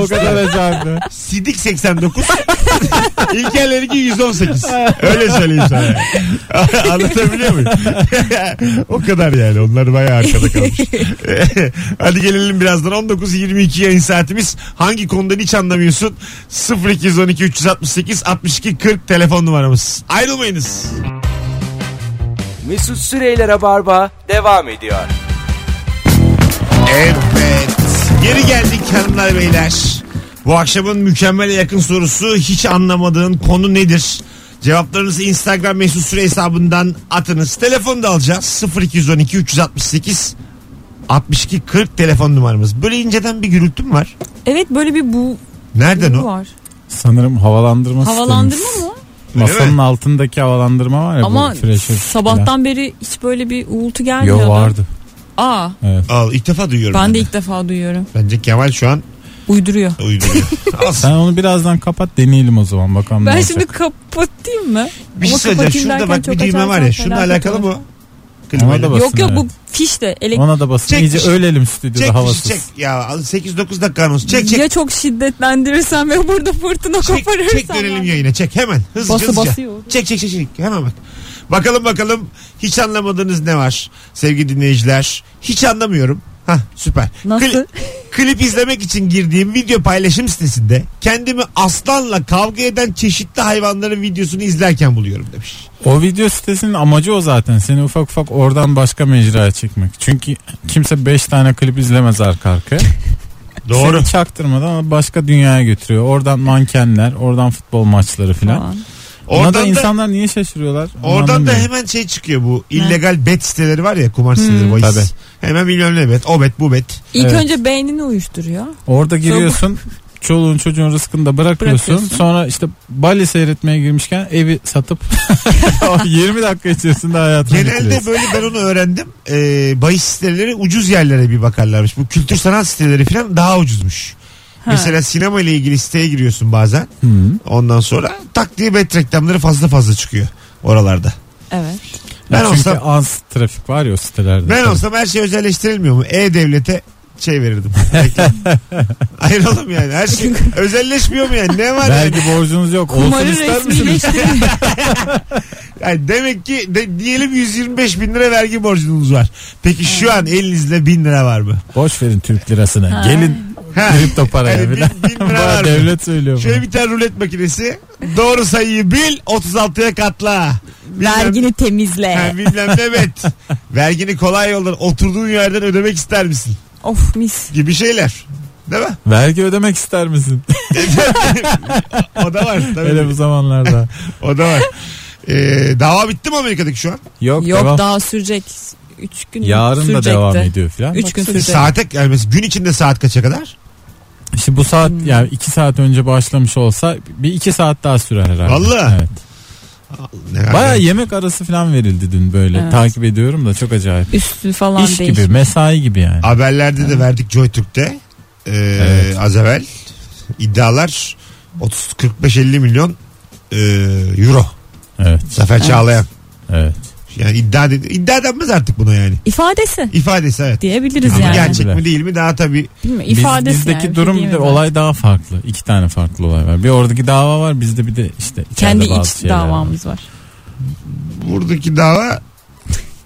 Speaker 4: o kadar acayip.
Speaker 2: Sidik 89. İlkerlerinki 118. Öyle söyleyeyim sana. yani. Anlatabiliyor muyum? o kadar yani. Onlar bayağı arkada kalmış. Hadi gelelim birazdan 19.22 yayın saatimiz. Hangi konudan hiç anlamıyorsun? 0212 368 62 40 telefon numaramız. Ayrılmayınız.
Speaker 1: Mesut Süreyler'e barba devam ediyor.
Speaker 2: Evet. Geri geldik hanımlar beyler. Bu akşamın mükemmele yakın sorusu hiç anlamadığın konu nedir? Cevaplarınızı Instagram mesut süre hesabından atınız. Telefonu da alacağız. 0212 368 62 40 telefon numaramız. Böyle inceden bir gürültüm var.
Speaker 3: Evet böyle bir bu
Speaker 2: Nereden
Speaker 3: bu
Speaker 2: o?
Speaker 3: var.
Speaker 4: Sanırım havalandırma sistemi.
Speaker 3: Havalandırma mı?
Speaker 2: Öyle
Speaker 4: Masanın
Speaker 2: mi?
Speaker 4: altındaki havalandırma var ya. bu
Speaker 3: Ama
Speaker 4: fresher falan.
Speaker 3: sabahtan beri hiç böyle bir uğultu gelmiyor.
Speaker 4: Yo vardı.
Speaker 3: Aa
Speaker 2: Al ilk defa duyuyorum.
Speaker 3: ben de ilk defa duyuyorum.
Speaker 2: Bence Kemal şu an
Speaker 3: Uyduruyor.
Speaker 2: uyduruyor. Al. şey
Speaker 4: Sen onu birazdan kapat deneyelim o zaman bakalım ne
Speaker 3: Ben
Speaker 4: olacak.
Speaker 3: şimdi kapatayım mı?
Speaker 2: bir şey
Speaker 3: Ama
Speaker 2: söyleyeceğim.
Speaker 3: kapatayım
Speaker 2: Şurada
Speaker 3: derken
Speaker 2: bak bir
Speaker 3: çok
Speaker 2: düğme
Speaker 3: açarsam
Speaker 2: var ya. Şununla
Speaker 3: felaket
Speaker 2: alakalı
Speaker 3: olur.
Speaker 2: mı? Klimayla.
Speaker 4: da bak-
Speaker 3: Yok yok
Speaker 4: Basın,
Speaker 3: bu fiş de elektrik.
Speaker 4: Ona da basın.
Speaker 2: Çekmiş.
Speaker 4: İyice ölelim stüdyoda
Speaker 2: Çek
Speaker 4: havasız.
Speaker 2: çek. Ya 8-9 dakika anons. Çek çek.
Speaker 3: Ya çok şiddetlendirirsen ve burada fırtına
Speaker 2: Çek,
Speaker 3: koparırsam.
Speaker 2: çek dönelim yayına çek hemen hızlıca
Speaker 3: Bası
Speaker 2: hızlıca.
Speaker 3: basıyor.
Speaker 2: Çek çek çek çek hemen bak. Bakalım bakalım hiç anlamadığınız ne var sevgili dinleyiciler. Hiç anlamıyorum. Hah süper.
Speaker 3: Nasıl?
Speaker 2: Kli- klip izlemek için girdiğim video paylaşım sitesinde kendimi aslanla kavga eden çeşitli hayvanların videosunu izlerken buluyorum demiş.
Speaker 4: O video sitesinin amacı o zaten. Seni ufak ufak oradan başka mecraya çekmek. Çünkü kimse 5 tane klip izlemez arka arkaya. Seni çaktırmadan başka dünyaya götürüyor. Oradan mankenler, oradan futbol maçları filan.
Speaker 3: Falan.
Speaker 4: Ona da
Speaker 2: Oradan da,
Speaker 4: insanlar niye şaşırıyorlar? Onu
Speaker 2: oradan da
Speaker 4: anlamıyorum.
Speaker 2: hemen şey çıkıyor bu illegal bet siteleri var ya kumar siteleri
Speaker 3: Hmm.
Speaker 2: bahis.
Speaker 4: Tabii.
Speaker 2: Hemen milyonlu bet o bet bu bet.
Speaker 3: İlk
Speaker 4: Evet.
Speaker 3: önce beynini uyuşturuyor.
Speaker 4: Orada giriyorsun. çoluğun çocuğun rızkını da bırakıyorsun.
Speaker 3: Bırakıyorsun.
Speaker 4: Sonra işte Bali seyretmeye girmişken evi satıp 20 dakika içerisinde hayatını
Speaker 2: Genelde
Speaker 4: bitiriyorsun.
Speaker 2: böyle ben onu öğrendim. Ee, bahis siteleri ucuz yerlere bir bakarlarmış. Bu kültür sanat siteleri falan daha ucuzmuş.
Speaker 3: Ha.
Speaker 2: Mesela sinema ile ilgili siteye giriyorsun bazen.
Speaker 4: Hı.
Speaker 2: Ondan sonra tak diye bet reklamları fazla fazla çıkıyor oralarda.
Speaker 3: Evet.
Speaker 4: Ya
Speaker 2: Ben
Speaker 4: Çünkü
Speaker 2: olsam-
Speaker 4: az trafik var ya o sitelerde.
Speaker 2: Ben olsam her şey özelleştirilmiyor mu? E-Devlet'e şey verirdim. Reklam. Hayır oğlum yani her şey özelleşmiyor mu yani? Ne var yani?
Speaker 4: Vergi borcunuz yok. Olsun
Speaker 3: Kumarı
Speaker 4: ister misiniz?
Speaker 3: resmileştiriyor.
Speaker 2: Yani demek ki de- diyelim 125 bin lira vergi borcunuz var. Peki şu an elinizde bin lira var mı?
Speaker 4: Boş verin Türk lirasını.
Speaker 3: Ha.
Speaker 4: Gelin
Speaker 2: Ha.
Speaker 4: kripto paraya
Speaker 2: Yani Hani bin- bin
Speaker 4: falan.
Speaker 2: lira Şey
Speaker 4: Bana
Speaker 2: var mı?
Speaker 4: devlet söylüyor. bunu.
Speaker 2: Şöyle bir tane rulet makinesi. Doğru sayıyı bil 36'ya katla. Bilmem-
Speaker 3: Vergini temizle.
Speaker 2: Ha, bilmem ne bet. Vergini kolay yoldan oturduğun yerden ödemek ister misin?
Speaker 3: Of mis.
Speaker 2: Gibi şeyler. Değil mi?
Speaker 4: Vergi ödemek ister misin?
Speaker 2: O da var. Tabii.
Speaker 4: Öyle bu zamanlarda.
Speaker 2: O da var. Ee, dava bitti mi Amerika'daki şu an?
Speaker 4: Yok,
Speaker 3: Yok
Speaker 4: devam.
Speaker 3: daha sürecek. Üç gün
Speaker 4: Yarın
Speaker 3: sürecekti.
Speaker 4: da devam ediyor filan.
Speaker 3: Üç gün sürecek.
Speaker 2: Saate yani mesela gün içinde saat kaça kadar?
Speaker 4: İşte bu saat
Speaker 3: Hmm.
Speaker 4: yani iki saat önce başlamış olsa bir iki saat daha sürer herhalde.
Speaker 2: Vallahi.
Speaker 4: Evet.
Speaker 2: Ne
Speaker 4: Baya
Speaker 2: kadar?
Speaker 4: yemek arası filan verildi dün böyle.
Speaker 3: Evet.
Speaker 4: Takip ediyorum da çok acayip.
Speaker 3: Üstü falan
Speaker 4: İş
Speaker 3: değil.
Speaker 4: gibi mesai gibi yani.
Speaker 2: Haberlerde de verdik JoyTürk'te. Ee,
Speaker 4: Evet.
Speaker 2: Az evvel iddialar 30 45 50 milyon e, euro.
Speaker 4: Evet.
Speaker 2: Zafer Çağlayan.
Speaker 4: Evet.
Speaker 2: Yani iddia, dedi- iddia denmez artık buna yani.
Speaker 3: İfadesi
Speaker 2: İfadesi evet.
Speaker 3: diyebiliriz
Speaker 4: Ama
Speaker 2: Ama
Speaker 3: yani.
Speaker 2: gerçek mi değil mi daha tabii
Speaker 3: Değil mi?
Speaker 4: Biz-
Speaker 3: İfadesi
Speaker 4: bizdeki
Speaker 3: yani, şey
Speaker 4: durum bir
Speaker 3: bilmiyorum
Speaker 4: de
Speaker 3: ben.
Speaker 4: olay daha farklı. İki tane farklı olay var. Bir oradaki dava var bizde bir de işte içeride
Speaker 3: Kendi
Speaker 4: bazı
Speaker 3: iç
Speaker 4: şeyler var.
Speaker 3: davamız var.
Speaker 2: buradaki dava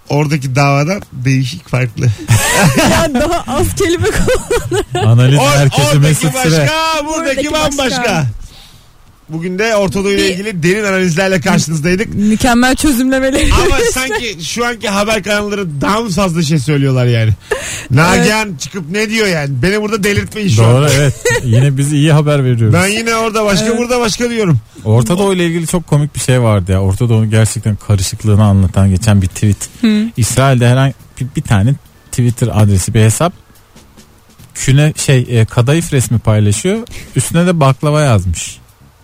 Speaker 2: oradaki davadan değişik farklı.
Speaker 3: ya daha az kelime kullan.
Speaker 4: Analiz
Speaker 2: Or-
Speaker 4: herkese
Speaker 2: oradaki
Speaker 4: mesut
Speaker 2: başka,
Speaker 4: süre.
Speaker 2: buradaki
Speaker 3: Buradaki
Speaker 2: bambaşka.
Speaker 3: başka.
Speaker 2: Bugün de Orta Doğu ile
Speaker 3: Bir-
Speaker 2: ilgili derin analizlerle karşınızdaydık.
Speaker 3: Mükemmel çözümlemeleri.
Speaker 2: Ama sanki şu anki haber kanalları daha mı fazla şey söylüyorlar yani. Nagihan çıkıp ne diyor yani? Beni burada delirtmeyin şu an.
Speaker 4: Doğru evet. Yine biz iyi haber veriyoruz.
Speaker 2: Ben yine orada başka burada başka diyorum.
Speaker 4: Orta Doğu ile ilgili çok komik bir şey vardı ya. Orta Doğu'nun gerçekten karışıklığını anlatan geçen bir tweet. İsrail'de herhangi bir, bir tane Twitter adresi bir hesap küne şey e, kadayıf resmi paylaşıyor. Üstüne de baklava yazmış.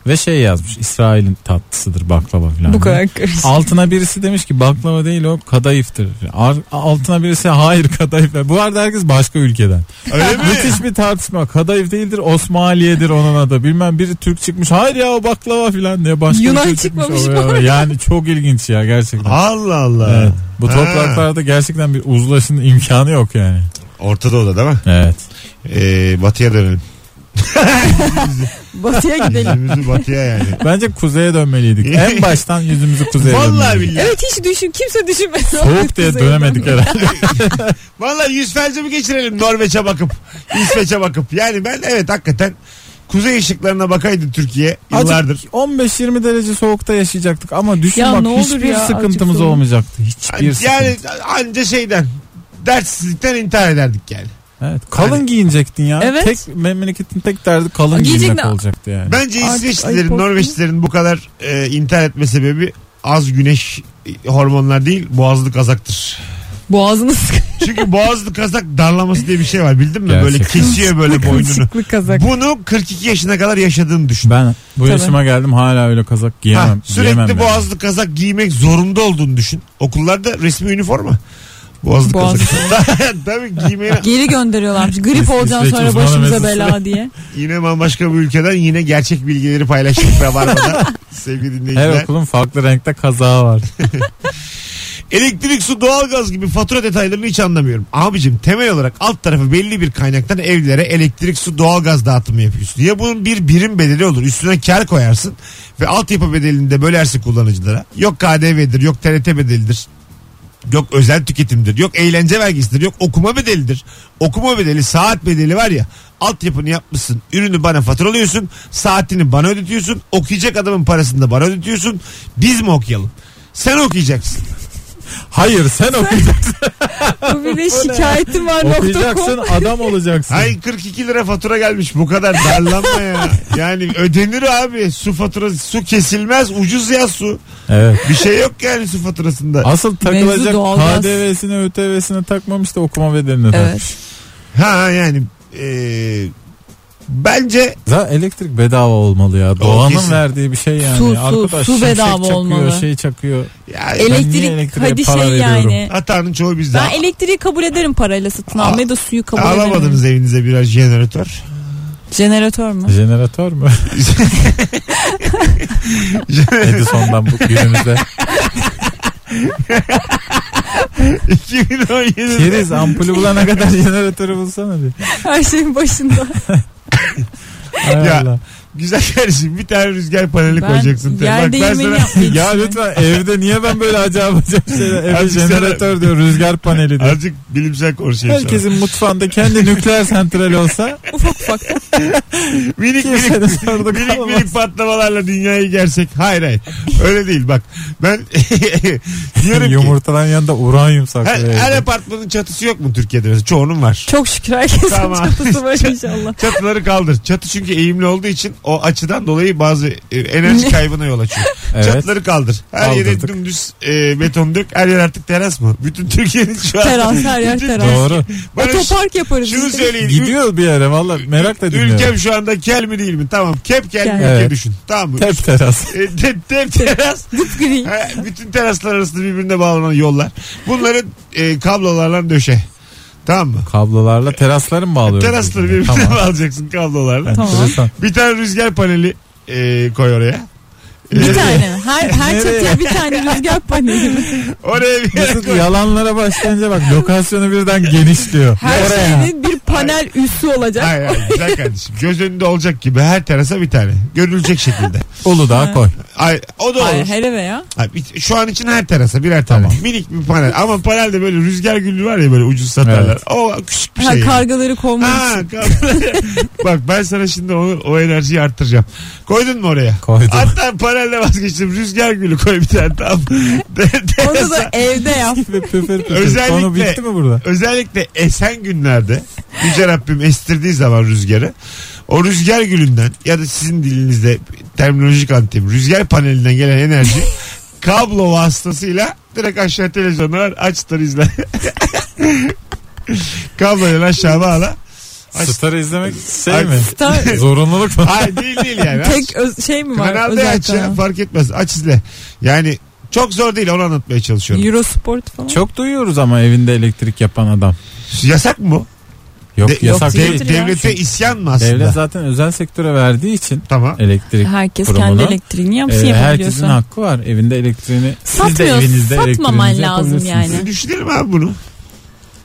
Speaker 4: Ve şey yazmış. İsrail'in tatlısıdır baklava falan.
Speaker 3: Bu kadar karışık.
Speaker 4: Altına birisi demiş ki baklava değil o kadayıftır. Ar- altına birisi hayır kadayıf. Bu arada herkes başka ülkeden.
Speaker 2: Öyle mi?
Speaker 4: Müthiş bir tartışma. Kadayıf değildir Osmaniye'dir onun adı. Bilmem biri Türk çıkmış. Hayır ya o baklava filan diye başka bir
Speaker 3: Yunan
Speaker 4: şey çıkmış.
Speaker 3: çıkmamış
Speaker 4: O-
Speaker 3: bu arada.
Speaker 4: Yani çok ilginç ya gerçekten.
Speaker 2: Allah Allah.
Speaker 4: Evet. Bu
Speaker 2: Ha.
Speaker 4: topraklarda gerçekten bir uzlaşın imkanı yok yani.
Speaker 2: Orta Doğu'da değil mi?
Speaker 4: Evet.
Speaker 2: Ee, batıya dönelim.
Speaker 3: Batıya gidelim.
Speaker 2: Yüzümüzü batıya yani.
Speaker 4: Bence kuzeye dönmeliydik. En baştan yüzümüzü kuzeye
Speaker 2: Vallahi
Speaker 4: dönmeliydik.
Speaker 2: billahi.
Speaker 3: evet hiç düşün kimse düşünmedi.
Speaker 4: Soğuk diye dönemedik herhalde.
Speaker 2: Vallahi yüz felcimi geçirelim Norveç'e bakıp. İsveç'e bakıp. Yani ben evet hakikaten kuzey ışıklarına bakaydı Türkiye yıllardır.
Speaker 4: Azıcık 15-20 derece soğukta yaşayacaktık ama düşün
Speaker 3: Ya
Speaker 4: bak
Speaker 3: ne olur
Speaker 4: hiçbir
Speaker 3: ya, azıcık
Speaker 4: sıkıntımız
Speaker 3: soğuk.
Speaker 4: olmayacaktı. Hiçbir
Speaker 2: yani
Speaker 4: sıkıntı.
Speaker 2: anca şeyden dertsizlikten intihar ederdik yani.
Speaker 4: Evet. Kalın
Speaker 2: Hani-
Speaker 4: giyinecektin ya.
Speaker 3: Evet.
Speaker 4: Tek memleketin tek derdi kalın
Speaker 3: Giyecek
Speaker 4: giyinmek
Speaker 3: ne-
Speaker 4: olacaktı yani.
Speaker 2: Bence
Speaker 3: Artık ayıp
Speaker 2: İsveçlilerin,
Speaker 3: olsun.
Speaker 2: Norveçlilerin bu kadar e, intihar etme sebebi az güneş e, hormonlar değil boğazlı kazaktır.
Speaker 3: Boğazını sıkı.
Speaker 2: Çünkü boğazlı kazak darlaması diye bir şey var bildin mi? Böyle
Speaker 4: Gerçekten.
Speaker 2: kesiyor böyle boynunu.
Speaker 3: Kılçıklı kazak.
Speaker 2: Bunu 42 yaşına kadar yaşadığını düşün.
Speaker 4: Ben bu
Speaker 3: Tabii.
Speaker 4: yaşıma geldim hala öyle kazak giyemem.
Speaker 2: Ha, sürekli
Speaker 4: giyemem yani.
Speaker 2: boğazlı kazak giymek zorunda olduğunu düşün. Okullarda resmi üniforma. Boğazlı,
Speaker 3: Boğazlı
Speaker 2: kazak. Tabii giymeye
Speaker 3: Geri gönderiyorlarmış.
Speaker 4: İs-
Speaker 3: Grip olacaksın
Speaker 4: İsveç
Speaker 3: sonra
Speaker 4: uzmanı
Speaker 3: başımıza
Speaker 4: Mesut Süre.
Speaker 3: bela diye.
Speaker 2: yine bambaşka bir ülkeden yine gerçek bilgileri paylaştık Rabarba'da. Sevgili dinleyiciler.
Speaker 4: Her okulun farklı renkte kazağı var.
Speaker 2: Elektrik, su, doğalgaz gibi fatura detaylarını hiç anlamıyorum. Abicim temel olarak alt tarafı belli bir kaynaktan evlere elektrik, su, doğalgaz dağıtımı yapıyorsun. Ya bunun bir birim bedeli olur. Üstüne kar koyarsın ve altyapı bedelini de bölersin kullanıcılara. Yok KDV'dir, yok TRT bedelidir. Yok özel tüketimdir, yok eğlence vergisidir, yok okuma bedelidir. Okuma bedeli, saat bedeli var ya. Altyapını yapmışsın, ürünü bana faturalıyorsun, saatini bana ödetiyorsun, okuyacak adamın parasını da bana ödetiyorsun. Biz mi okuyalım? Sen okuyacaksın.
Speaker 4: Hayır sen okuyacaksın.
Speaker 3: Bu bir de şikayetim var. nokta
Speaker 4: okuyacaksın
Speaker 3: com.
Speaker 4: adam olacaksın.
Speaker 2: Ay 42 lira fatura gelmiş bu kadar darlanma ya. Yani ödenir abi su faturası su kesilmez ucuz ya su.
Speaker 4: Evet.
Speaker 2: Bir şey yok yani su faturasında.
Speaker 4: Asıl takılacak
Speaker 3: doğalgaz.
Speaker 4: KDV'sine ÖTV'sine takmamış da okuma bedelini takmış.
Speaker 3: Evet.
Speaker 2: Ha yani eee, bence
Speaker 4: Zaten elektrik bedava olmalı ya. Doğanın
Speaker 2: kesin.
Speaker 4: verdiği bir şey yani.
Speaker 3: Su, su,
Speaker 4: Arkadaş
Speaker 3: su
Speaker 4: şimşek
Speaker 3: bedava
Speaker 4: çakıyor,
Speaker 3: olmalı.
Speaker 4: Şey çakıyor.
Speaker 2: ya,
Speaker 4: niye
Speaker 3: Elektrik
Speaker 4: elektriğe
Speaker 3: hadi şey
Speaker 4: para veriyorum?
Speaker 3: yani.
Speaker 2: hatanın çoğu bizde.
Speaker 3: Ben elektriği kabul ederim parayla satın
Speaker 2: Al-
Speaker 3: almayı da suyu kabul ederim.
Speaker 2: Alamadınız evinize biraz jeneratör.
Speaker 3: Jeneratör mü?
Speaker 4: Jeneratör mü? Edison'dan bu günümüzde.
Speaker 2: 2017'de
Speaker 4: Keriz ampulü bulana kadar jeneratörü bulsana diye.
Speaker 3: Her şeyin başında.
Speaker 4: Hay
Speaker 2: Ya,
Speaker 4: Allah.
Speaker 2: güzel kardeşim bir tane rüzgar paneli
Speaker 3: Ben
Speaker 2: koyacaksın. tabii.
Speaker 3: yer değirmeni yapmayı
Speaker 4: Ya
Speaker 3: düşünüyorum.
Speaker 4: lütfen evde niye ben böyle acayip acayip şeyler evde
Speaker 2: Azıcık
Speaker 4: jeneratör diyor rüzgar paneli diyor.
Speaker 2: Azıcık bilimsel konuşayım sana.
Speaker 4: Herkesin mutfağında kendi nükleer santral olsa
Speaker 3: Ufak ufak.
Speaker 2: Minik minik
Speaker 4: kimsenin sorunu
Speaker 2: Minik
Speaker 4: kalmaz.
Speaker 2: minik patlamalarla dünyayı gersek. Hayır hayır. Öyle değil bak. Ben diyorum ki
Speaker 4: Yumurtadan yanında uranyum saklı.
Speaker 2: her,
Speaker 4: evde.
Speaker 2: her apartmanın çatısı yok mu Türkiye'de mesela? Çoğunun var.
Speaker 3: Çok şükür herkesin
Speaker 2: Tamam.
Speaker 3: çatısı var inşallah.
Speaker 2: Çatıları kaldır. Çatı çünkü eğimli olduğu için o açıdan dolayı bazı e, enerji kaybına yol açıyor.
Speaker 4: Evet.
Speaker 2: Çatıları kaldır. Her yere
Speaker 4: Kaldırdık.
Speaker 2: dümdüz e, beton dök. Her yer artık teras mı? Bütün Türkiye'nin şu an.
Speaker 3: Teras her yer
Speaker 2: Bütün-
Speaker 3: teras. E,
Speaker 4: Doğru.
Speaker 2: Bana ş-
Speaker 3: Otopark yaparız.
Speaker 2: şunu
Speaker 3: biz de.
Speaker 2: söyleyin. Ül-
Speaker 4: Gidiyor bir yere valla merak da dinliyorum.
Speaker 2: Ülkem şu anda kel mi değil mi? Tamam. Kep kel mi ülke
Speaker 4: Kel. Evet.
Speaker 2: düşün. Tamam mı?
Speaker 4: Tep teras.
Speaker 2: E, te- te- teras.
Speaker 3: Gri.
Speaker 2: Ha, bütün teraslar arasında birbirine bağlanan yollar. Bunları e, kablolarla döşe. Tamam mı?
Speaker 4: Kablolarla terasları mı bağlıyoruz?
Speaker 2: Terasları birbirine bağlayacaksın kablolarla.
Speaker 3: Tamam.
Speaker 4: Enteresan.
Speaker 2: Bir tane rüzgar paneli e, koy oraya.
Speaker 3: Bir tane. Her, her
Speaker 4: Nereye?
Speaker 3: çatıya bir tane rüzgar paneli. mi?
Speaker 2: Oraya bir yere
Speaker 4: Mesut
Speaker 2: koy.
Speaker 4: yalanlara başlayınca bak lokasyonu birden genişliyor.
Speaker 3: Her
Speaker 4: Oraya.
Speaker 3: şeyin bir panel üssü olacak.
Speaker 2: Hayır hayır güzel kardeşim. Göz önünde olacak gibi her terasa bir tane. Görülecek şekilde.
Speaker 4: Uludağ'a koy.
Speaker 2: Ay, o da olur.
Speaker 3: Hayır, hele be ya.
Speaker 2: Ay, bir- şu an için her terasa birer tane.
Speaker 4: Tamam.
Speaker 2: Minik bir panel. Ama panelde böyle rüzgar gülü var ya böyle ucuz satarlar.
Speaker 4: Evet.
Speaker 2: O küçük bir
Speaker 3: Ha,
Speaker 2: şey. yani.
Speaker 3: kargaları kovmak
Speaker 2: Ha,
Speaker 3: için.
Speaker 2: kar- Bak ben sana şimdi onu, o enerjiyi arttıracağım. Koydun mu oraya?
Speaker 4: Koydum.
Speaker 2: Hatta panelde vazgeçtim. Rüzgar gülü koy bir tane tam. De-
Speaker 3: Onu
Speaker 2: terasa-
Speaker 3: da evde yap.
Speaker 2: Özellikle-
Speaker 4: Konu bitti mi burada?
Speaker 2: Özellikle esen günlerde Yüce Rabbim estirdiği zaman rüzgarı o rüzgar gülünden ya da sizin dilinizde terminolojik antim rüzgar panelinden gelen enerji kablo vasıtasıyla direkt aşağı televizyona ver açtır izle. Kabloyla aşağı bağla. Aç-
Speaker 4: Star'ı izlemek
Speaker 2: Ay-
Speaker 4: şey mi?
Speaker 3: Star-
Speaker 4: Zorunluluk mu?
Speaker 2: Hayır değil değil yani. Aç.
Speaker 3: Tek öz- şey mi var?
Speaker 2: Kanal D
Speaker 3: Özel
Speaker 2: aç ya
Speaker 3: kanal.
Speaker 2: fark etmez aç izle. Yani çok zor değil onu anlatmaya çalışıyorum.
Speaker 3: Eurosport falan.
Speaker 4: Çok duyuyoruz ama evinde elektrik yapan adam.
Speaker 2: Yasak mı bu?
Speaker 4: Yok
Speaker 2: De-
Speaker 3: Yok,
Speaker 4: yasak
Speaker 2: dev-
Speaker 4: değil.
Speaker 3: değildir ya.
Speaker 2: devlete isyan mı aslında?
Speaker 4: Devlet zaten özel sektöre verdiği için
Speaker 2: Tamam.
Speaker 4: elektrik
Speaker 3: Herkes
Speaker 4: kurumuna.
Speaker 3: kendi elektriğini
Speaker 2: Ee,
Speaker 3: yapsın
Speaker 4: e, herkesin
Speaker 3: yapabiliyorsa.
Speaker 4: hakkı var. Evinde elektriğini siz de
Speaker 3: Satmıyor,
Speaker 4: evinizde
Speaker 3: satmaman
Speaker 4: elektriğinizi
Speaker 3: lazım
Speaker 4: yapabilirsiniz.
Speaker 3: yani.
Speaker 2: Düşünelim abi bunu.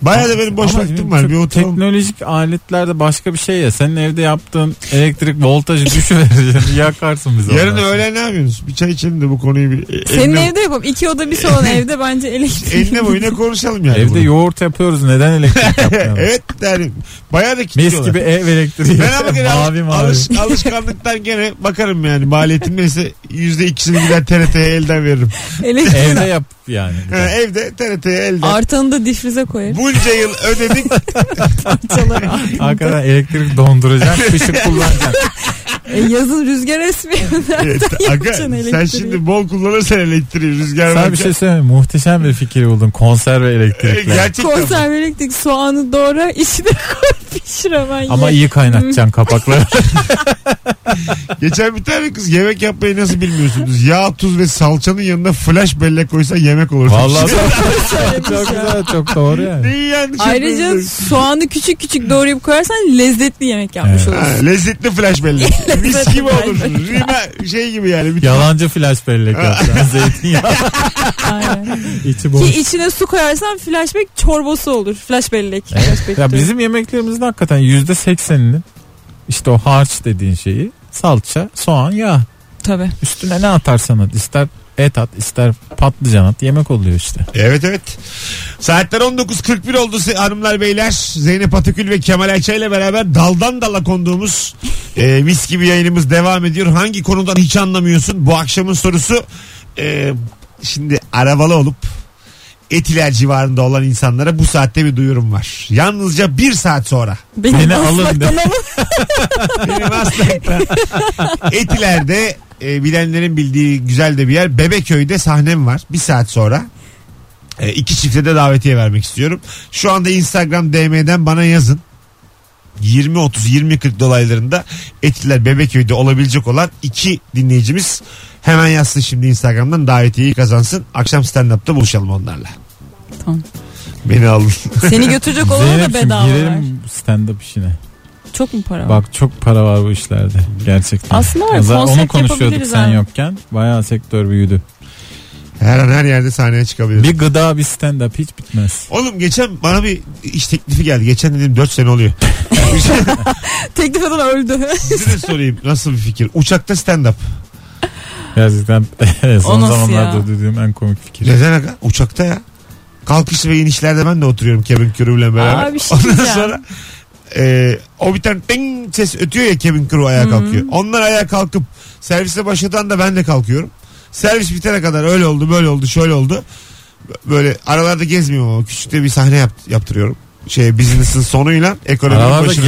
Speaker 2: Bayağı da benim boş
Speaker 4: Ama
Speaker 2: vaktim
Speaker 4: bizim
Speaker 2: var.
Speaker 4: çok
Speaker 2: Bir oturalım.
Speaker 4: Teknolojik aletlerde başka bir şey ya. Senin evde yaptığın elektrik voltajı düşüverir. Yakarsın bizi.
Speaker 2: Yarın
Speaker 4: ondan sonra.
Speaker 2: öğlen ne yapıyorsunuz? Bir çay içelim de bu konuyu bir...
Speaker 3: Senin
Speaker 2: eline,
Speaker 3: evde yapalım. İki oda bir salon evde bence elektrik.
Speaker 2: Eline boyuna konuşalım yani.
Speaker 4: Evde
Speaker 2: bunu.
Speaker 4: yoğurt yapıyoruz. Neden elektrik yapmayalım?
Speaker 2: evet yani bayağı da
Speaker 4: Mis
Speaker 2: kilitliyorlar.
Speaker 4: gibi ev elektriği.
Speaker 2: Ben ama gene
Speaker 4: mavi
Speaker 2: al-
Speaker 4: mavi.
Speaker 2: alış, alışkanlıktan gene bakarım yani. Maliyetim neyse yüzde ikisini gider TRT'ye elden veririm.
Speaker 3: elektrik.
Speaker 4: Evde yap yani.
Speaker 2: Ha, evde TRT'ye elden.
Speaker 3: Artanı da difrize koyar.
Speaker 2: Bunca yıl ödedik.
Speaker 3: Parçaları.
Speaker 4: Hakikaten elektrik donduracak, fışık kullanacak.
Speaker 3: E, yazın rüzgar esmiyor.
Speaker 2: Evet, Aga, sen
Speaker 3: elektriği?
Speaker 2: şimdi bol kullanırsan elektriği rüzgar
Speaker 4: Sana bir
Speaker 2: varken-
Speaker 4: şey söyleyeyim mi? Muhteşem bir fikir buldum. Konserve
Speaker 2: Ee,
Speaker 4: elektrikler.
Speaker 2: Gerçekten.
Speaker 3: Konserve elektrik soğanı doğra içine koy pişir hemen
Speaker 4: Ama
Speaker 3: ye.
Speaker 4: iyi kaynatacaksın kapakları.
Speaker 2: Geçen bir tane kız yemek yapmayı nasıl bilmiyorsunuz? Yağ, tuz ve salçanın yanına flash bellek koysa yemek olur.
Speaker 4: Vallahi çok, çok güzel, çok doğru yani.
Speaker 2: Neyi yanlış
Speaker 3: Ayrıca
Speaker 2: yapıyorsunuz?
Speaker 3: soğanı küçük küçük doğrayıp koyarsan lezzetli yemek yapmış
Speaker 4: Evet.
Speaker 2: Ha,
Speaker 3: olursun.
Speaker 2: lezzetli flash bellek. Mis gibi
Speaker 3: flash
Speaker 2: olur.
Speaker 3: bellek.
Speaker 2: Rime şey gibi yani. Bir
Speaker 4: Yalancı flash bellek yapacaksın. Zeytinyağı.
Speaker 3: Aynen.
Speaker 4: içi
Speaker 3: Ki
Speaker 4: boş.
Speaker 3: içine su koyarsan flashback çorbası olur. Flash bellek. Flash bellek
Speaker 4: Ya
Speaker 3: diyorum.
Speaker 4: bizim yemeklerimizin hakikaten yüzde sekseninin işte o harç dediğin şeyi salça, soğan, yağ.
Speaker 3: Tabii.
Speaker 4: Üstüne ne atarsan at. ister et at, ister patlıcan at. Yemek oluyor işte.
Speaker 2: Evet evet. Saatler 19.41 oldu se- hanımlar beyler. Zeynep Atakül ve Kemal Ayça ile beraber daldan dala konduğumuz e, mis gibi yayınımız devam ediyor. Hangi konudan hiç anlamıyorsun? Bu akşamın sorusu e, şimdi arabalı olup Etiler civarında olan insanlara bu saatte bir duyurum var. Yalnızca bir saat sonra.
Speaker 3: Beni,
Speaker 4: Beni alın
Speaker 3: alın
Speaker 4: de.
Speaker 2: Benim aslında Etiler'de e, bilenlerin bildiği güzel de bir yer. Bebeköy'de sahnem var. Bir saat sonra. E, iki çifte de davetiye vermek istiyorum. Şu anda Instagram DM'den bana yazın. 20-30-20-40 dolaylarında Etiler Bebeköy'de olabilecek olan iki dinleyicimiz hemen yazsın şimdi Instagram'dan davetiyeyi kazansın. Akşam stand-up'ta buluşalım onlarla.
Speaker 3: Tamam.
Speaker 2: Beni aldın.
Speaker 3: Seni götürecek olana da
Speaker 4: Zeynep'ciğim
Speaker 3: bedava ver.
Speaker 4: girelim stand up işine.
Speaker 3: Çok mu para var?
Speaker 4: Bak çok para var bu işlerde gerçekten.
Speaker 3: Aslında var,
Speaker 4: Ya zaten
Speaker 3: konsept
Speaker 4: Onu konuşuyorduk
Speaker 3: yapabiliriz
Speaker 4: sen
Speaker 3: ha.
Speaker 4: yokken. Bayağı sektör büyüdü.
Speaker 2: Her an her yerde sahneye çıkabilirim.
Speaker 4: Bir gıda bir stand up hiç bitmez.
Speaker 2: Oğlum geçen bana bir iş teklifi geldi. Geçen dedim 4 sene oluyor.
Speaker 3: Teklif eden öldü.
Speaker 2: Size de sorayım nasıl bir fikir? Uçakta stand up.
Speaker 4: Gerçekten son
Speaker 3: O nasıl
Speaker 4: zamanlarda
Speaker 3: ya?
Speaker 4: duyduğum en komik fikir.
Speaker 2: Neden aga? Uçakta ya. Kalkış ve inişlerde ben de oturuyorum Kevin Crew'le beraber.
Speaker 3: Aa, bir şey
Speaker 2: Ondan
Speaker 3: diyeceğim.
Speaker 2: sonra e, o bir tane ting ses ötüyor ya Kevin Crew ayağa kalkıyor. Onlar ayağa kalkıp servise başlatan da ben de kalkıyorum. Servis bitene kadar öyle oldu böyle oldu şöyle oldu. Böyle aralarda gezmiyorum ama küçükte bir sahne yap- yaptırıyorum. Şey business'ın sonuyla ekonominin
Speaker 4: Aralarda
Speaker 2: başına.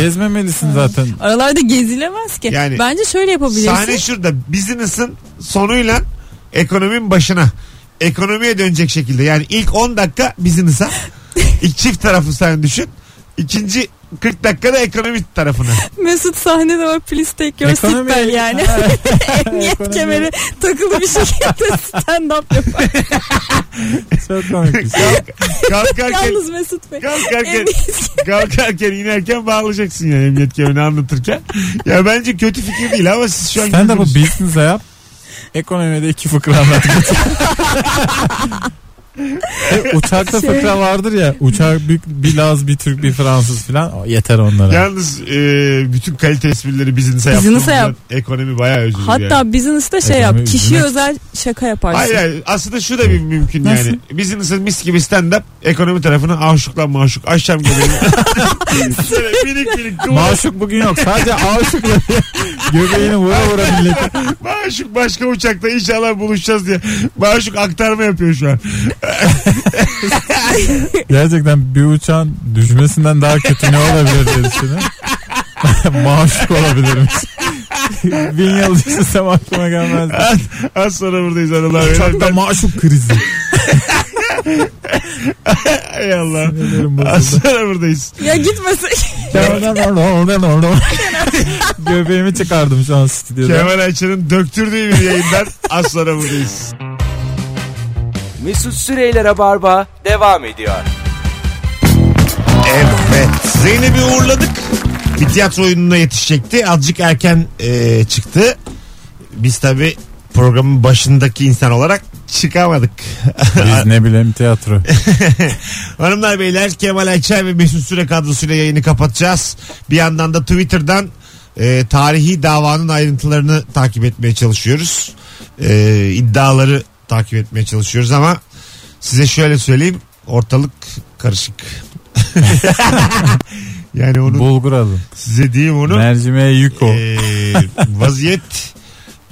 Speaker 4: gezmemelisin zaten.
Speaker 3: Aralarda gezilemez ki.
Speaker 2: Yani-
Speaker 3: Bence şöyle yapabilirsin.
Speaker 2: Sahne şurada. Business'ın sonuyla ekonominin başına. Ekonomiye dönecek şekilde. Yani ilk 10 dakika business'a. İlk çift tarafı sen düşün. İkinci 40 dakikada ekonomi tarafına.
Speaker 3: Mesut sahnede var please take your
Speaker 4: Ekonomi-
Speaker 3: seatbelt yani. Emniyet
Speaker 4: Ekonomi-
Speaker 3: kemeri takılı bir şekilde stand up yapar.
Speaker 4: Çok komik bir şey.
Speaker 2: Kalk- kalkarken
Speaker 3: Yalnız Mesut Bey.
Speaker 2: kalkarken
Speaker 3: Emniyet-
Speaker 2: kalkarken inerken bağlayacaksın yani emniyet kemerini anlatırken. Ya bence kötü fikir değil ama siz şu an
Speaker 4: Stand up'ı
Speaker 2: güldünüz.
Speaker 4: business'a yap. Ekonomide iki fıkra anlat. E, uçakta
Speaker 3: Şey-
Speaker 4: fıkra vardır ya. Uçak bir, bir Laz, bir Türk, bir Fransız filan. O Yeter onlara.
Speaker 2: Yalnız e, bütün kalite esprileri business'a
Speaker 3: Business'a
Speaker 2: yaptığımızdan
Speaker 3: yap.
Speaker 2: ekonomi bayağı özür yani.
Speaker 3: Hatta business'te şey yap.
Speaker 4: Ekonomi
Speaker 3: Kişiye
Speaker 4: business.
Speaker 3: özel şaka yaparsın.
Speaker 2: Hayır hayır. Aslında şu da bir mümkün
Speaker 4: Nasıl?
Speaker 2: yani. Bizim ısın mis gibi stand up ekonomi tarafına aşıkla maşuk. Aşam gibi. Şöyle minik minik kıvırcık.
Speaker 4: Maşuk bugün yok. Sadece aşıkla göbeğini vura vura millete.
Speaker 2: Maşuk başka uçakta inşallah buluşacağız diye. Maşuk aktarma yapıyor şu an.
Speaker 4: Gerçekten bir uçağın düşmesinden daha kötü ne olabilir diye düşünüyorum. Maşuk olabilirmiş. Bin yıl düşünsem aklıma gelmez.
Speaker 2: Az, az sonra buradayız hanımlar. beyler.
Speaker 4: Uçakta
Speaker 2: Ben-
Speaker 4: maşuk krizi.
Speaker 2: Ay Allah.
Speaker 4: Sinirlerim bozuldu.
Speaker 2: Az sonra buradayız.
Speaker 3: Ya gitmesek.
Speaker 4: Göbeğimi çıkardım şu an stüdyoda.
Speaker 2: Kemal Ayça'nın döktürdüğü bir yayından az sonra buradayız.
Speaker 1: Mesut Süreyler'e barba devam ediyor.
Speaker 2: Evet. Zeynep'i uğurladık. Bir tiyatro oyununa yetişecekti. Azıcık erken e, çıktı. Biz tabi programın başındaki insan olarak çıkamadık.
Speaker 4: Biz ne bileyim tiyatro.
Speaker 2: Hanımlar beyler Kemal Ayça ve Mesut Süre kadrosuyla yayını kapatacağız. Bir yandan da Twitter'dan e, tarihi davanın ayrıntılarını takip etmeye çalışıyoruz. E, iddiaları takip etmeye çalışıyoruz ama size şöyle söyleyeyim ortalık karışık. yani onu
Speaker 4: Bulgur alın.
Speaker 2: size diyeyim onu.
Speaker 4: Mercimeğe yük o.
Speaker 2: Ee, vaziyet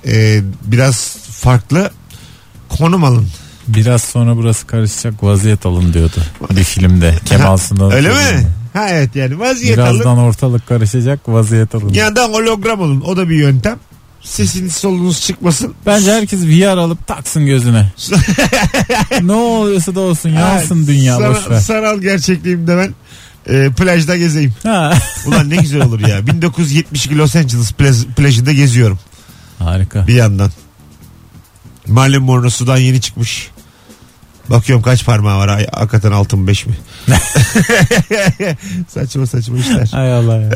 Speaker 2: e, biraz farklı. Konum alın.
Speaker 4: Biraz sonra burası karışacak vaziyet alın diyordu. Bir filmde. Kemal
Speaker 2: Ha,
Speaker 4: Sunal.
Speaker 2: Öyle
Speaker 4: filminde.
Speaker 2: mi? Ha evet yani vaziyet alın.
Speaker 4: Birazdan ortalık karışacak vaziyet alın.
Speaker 2: Ya da hologram olun. O da bir yöntem. Sesiniz solunuz çıkmasın.
Speaker 4: Bence herkes VR alıp taksın gözüne. ne oluyorsa da olsun yansın
Speaker 2: Ha,
Speaker 4: dünya
Speaker 2: sana-
Speaker 4: boşver.
Speaker 2: Sanal gerçekliğimde ben e, plajda gezeyim.
Speaker 4: Ha.
Speaker 2: Ulan ne güzel olur ya. 1972 Los Angeles plaj- plajında geziyorum
Speaker 4: Harika.
Speaker 2: bir yandan. Marilyn Monroe sudan yeni çıkmış. Bakıyorum kaç parmağı var. Ay, hakikaten altın mı beş mi? saçma saçma işler.
Speaker 4: Hay Allah ya.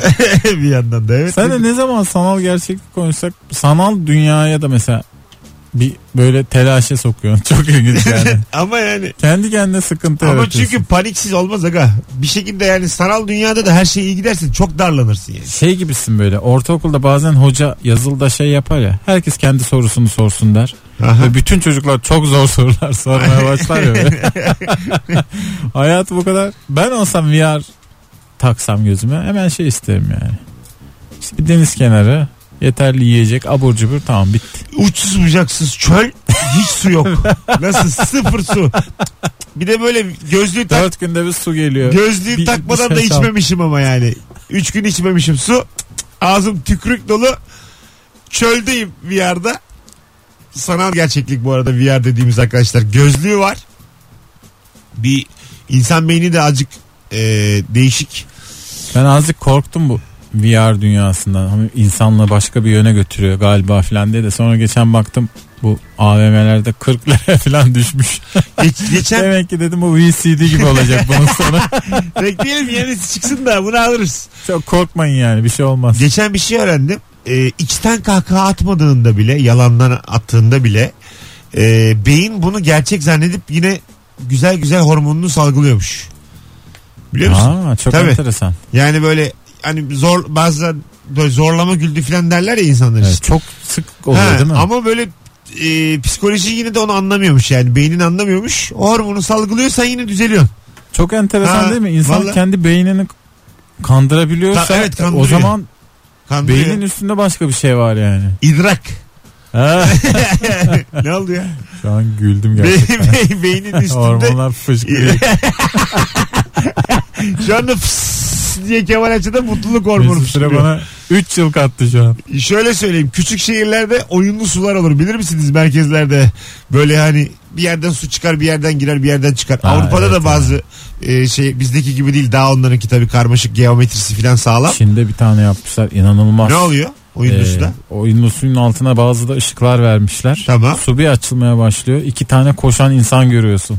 Speaker 2: bir yandan da evet.
Speaker 4: Sen de ne zaman sanal gerçeklik konuşsak sanal dünyaya da mesela bir böyle telaşe sokuyorsun. Çok ilginç yani.
Speaker 2: Ama yani
Speaker 4: Kendi kendine sıkıntı
Speaker 2: Ama
Speaker 4: yaratıyorsun.
Speaker 2: çünkü paniksiz olmaz aga. Bir şekilde yani sanal dünyada da her şey iyi giderse çok darlanırsın yani.
Speaker 4: şey gibisin böyle ortaokulda bazen hoca yazılıda şey yapar ya herkes kendi sorusunu sorsun der
Speaker 2: Aha.
Speaker 4: ve bütün çocuklar çok zor sorular sormaya başlar ya böyle. hayat bu kadar ben olsam VR taksam gözüme hemen şey isterim yani İşte bir deniz kenarı yeterli yiyecek abur cubur tamam bitti
Speaker 2: Uçsuz bucaksız çöl hiç su yok. Nasıl sıfır su. Bir de böyle gözlüğü tak,
Speaker 4: dört günde bir su geliyor
Speaker 2: gözlüğü
Speaker 4: Ee, Bir-
Speaker 2: takmadan
Speaker 4: bir
Speaker 2: da
Speaker 4: ses al.
Speaker 2: içmemişim ama yani. Üç gün içmemişim su. Ağzım tükürük dolu. Çöldeyim VR'da. Sanal gerçeklik bu arada VR dediğimiz arkadaşlar. Gözlüğü var. Bir insan beyni de azıcık e, değişik.
Speaker 4: ben azıcık korktum bu VR dünyasından hani insanla başka bir yöne götürüyor galiba filan diye de sonra geçen baktım bu AVM'lerde 40 liraya falan düşmüş.
Speaker 2: Geç- geçen
Speaker 4: Demek ki dedim bu VCD gibi olacak bunun sonu.
Speaker 2: Bekleyelim yenisi çıksın da bunu alırız.
Speaker 4: Çok korkmayın yani bir şey olmaz.
Speaker 2: Geçen bir şey öğrendim. Ee, içten kahkaha atmadığında bile yalandan attığında bile e, beyin bunu gerçek zannedip yine güzel güzel hormonunu salgılıyormuş. Biliyor musun?
Speaker 4: Aa, çok
Speaker 2: Tabii.
Speaker 4: enteresan.
Speaker 2: Yani böyle hani zor bazen böyle zorlama güldü falan derler ya insanlar
Speaker 4: Evet,
Speaker 2: işte.
Speaker 4: çok sık oluyor
Speaker 2: Ha,
Speaker 4: değil mi?
Speaker 2: Ama böyle e, psikoloji yine de onu anlamıyormuş yani beynin anlamıyormuş. O hormonu salgılıyor sen yine düzeliyorsun.
Speaker 4: Çok enteresan
Speaker 2: Ha,
Speaker 4: değil mi? İnsan
Speaker 2: vallahi.
Speaker 4: kendi beynini kandırabiliyorsa e,
Speaker 2: Ta- evet, kandırıyor.
Speaker 4: o zaman
Speaker 2: Kandırıyor.
Speaker 4: beynin üstünde başka bir şey var yani.
Speaker 2: idrak.
Speaker 4: Ha,
Speaker 2: ne oldu ya?
Speaker 4: Şu an güldüm
Speaker 2: Be-
Speaker 4: gerçekten.
Speaker 2: be- beynin üstünde
Speaker 4: Hormonlar fışkırıyor.
Speaker 2: Şu anda fıs diye Kemal Açı'da mutluluk hormonu
Speaker 4: Mesut Süre
Speaker 2: fışkırıyor.
Speaker 4: bana 3 yıl kattı şu an.
Speaker 2: Şöyle söyleyeyim. Küçük şehirlerde oyunlu sular olur. Bilir misiniz merkezlerde? Böyle hani bir yerden su çıkar, bir yerden girer, bir yerden çıkar.
Speaker 4: Ha,
Speaker 2: Avrupa'da
Speaker 4: evet,
Speaker 2: da bazı e, şey bizdeki gibi değil. Daha onlarınki tabii karmaşık geometrisi falan sağlam.
Speaker 4: Çin'de bir tane yapmışlar inanılmaz.
Speaker 2: Ne oluyor oyunlu
Speaker 4: Ee,
Speaker 2: suda?
Speaker 4: oyunlu suyun altına bazı da ışıklar vermişler.
Speaker 2: Tamam.
Speaker 4: Su bir açılmaya başlıyor. İki tane koşan insan görüyorsun.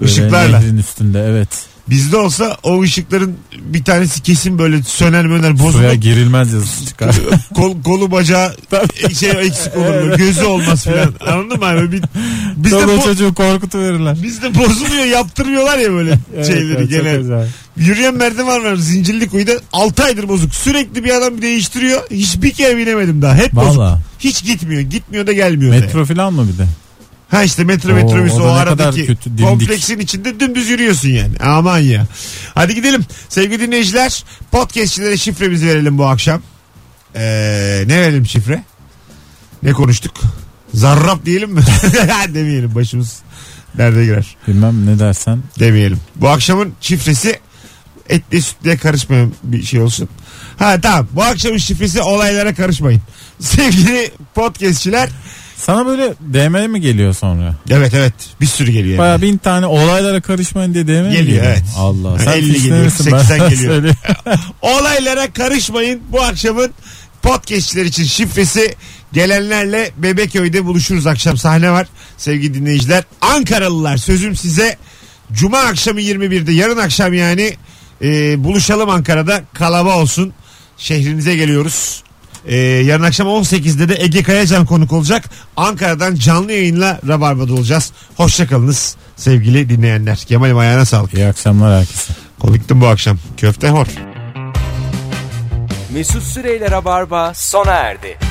Speaker 4: Böyle
Speaker 2: Işıklarla.
Speaker 4: Nehrin üstünde evet.
Speaker 2: Bizde olsa o ışıkların bir tanesi kesin böyle söner möner
Speaker 4: Suya
Speaker 2: bozulur.
Speaker 4: girilmez yazısı çıkar.
Speaker 2: Kol, kolu bacağı şey eksik olur. böyle, Gözü olmaz filan. Anladın mı abi? Bi- Bizde,
Speaker 4: Çoluğu
Speaker 2: bo-
Speaker 4: çocuğu korkutu verirler.
Speaker 2: bizde bozuluyor yaptırmıyorlar ya böyle şeyleri gene. Yürüyen merdiven var zincirli kuyuda 6 aydır bozuk. Sürekli bir adam değiştiriyor. Hiçbir kere binemedim daha. Hep bozuk.
Speaker 4: Valla.
Speaker 2: Hiç gitmiyor. Gitmiyor da gelmiyor. da.
Speaker 4: Metro falan mı bir de?
Speaker 2: Ha işte metro
Speaker 4: Oo,
Speaker 2: metrobüs o,
Speaker 4: o da ne kadar
Speaker 2: aradaki
Speaker 4: kötü, dimdik.
Speaker 2: kompleksin içinde dümdüz yürüyorsun yani. Aman ya. Hadi gidelim. Sevgili dinleyiciler podcastçilere şifremizi verelim bu akşam. Ee, ne verelim şifre? Ne konuştuk? Zarrab diyelim mi? Demeyelim başımız nerede girer.
Speaker 4: Bilmem ne dersen.
Speaker 2: Demeyelim. Bu akşamın şifresi etli sütle karışmayan bir şey olsun. Ha tamam bu akşamın şifresi olaylara karışmayın. Sevgili podcastçiler.
Speaker 4: Sana böyle DM mi geliyor sonra?
Speaker 2: Evet evet bir sürü geliyor. yani.
Speaker 4: Baya bin tane olaylara karışmayın diye DM mi
Speaker 2: Geliyor,
Speaker 4: geliyor?
Speaker 2: evet.
Speaker 4: Allah.
Speaker 2: Yani
Speaker 4: Sen
Speaker 2: 50 geliyor,
Speaker 4: fişlenirsin, ben
Speaker 2: 80
Speaker 4: sana
Speaker 2: geliyor.
Speaker 4: söyleyeyim.
Speaker 2: Olaylara karışmayın. Bu akşamın podcastçiler için şifresi gelenlerle Bebeköy'de buluşuruz. Akşam sahne var sevgili dinleyiciler. Ankaralılar sözüm size. Cuma akşamı 21'de yarın akşam yani e, buluşalım Ankara'da. Kalaba olsun. Şehrinize geliyoruz. E, yarın akşam 18'de de Ege Kayacan konuk olacak. Ankara'dan canlı yayınla Rabarba'da olacağız. Hoşçakalınız sevgili dinleyenler. Kemal'im ayağına sağlık.
Speaker 4: İyi akşamlar herkese.
Speaker 2: Komiktim bu akşam. Köfte hor.
Speaker 1: Mesut Süreyler'e barba sona erdi.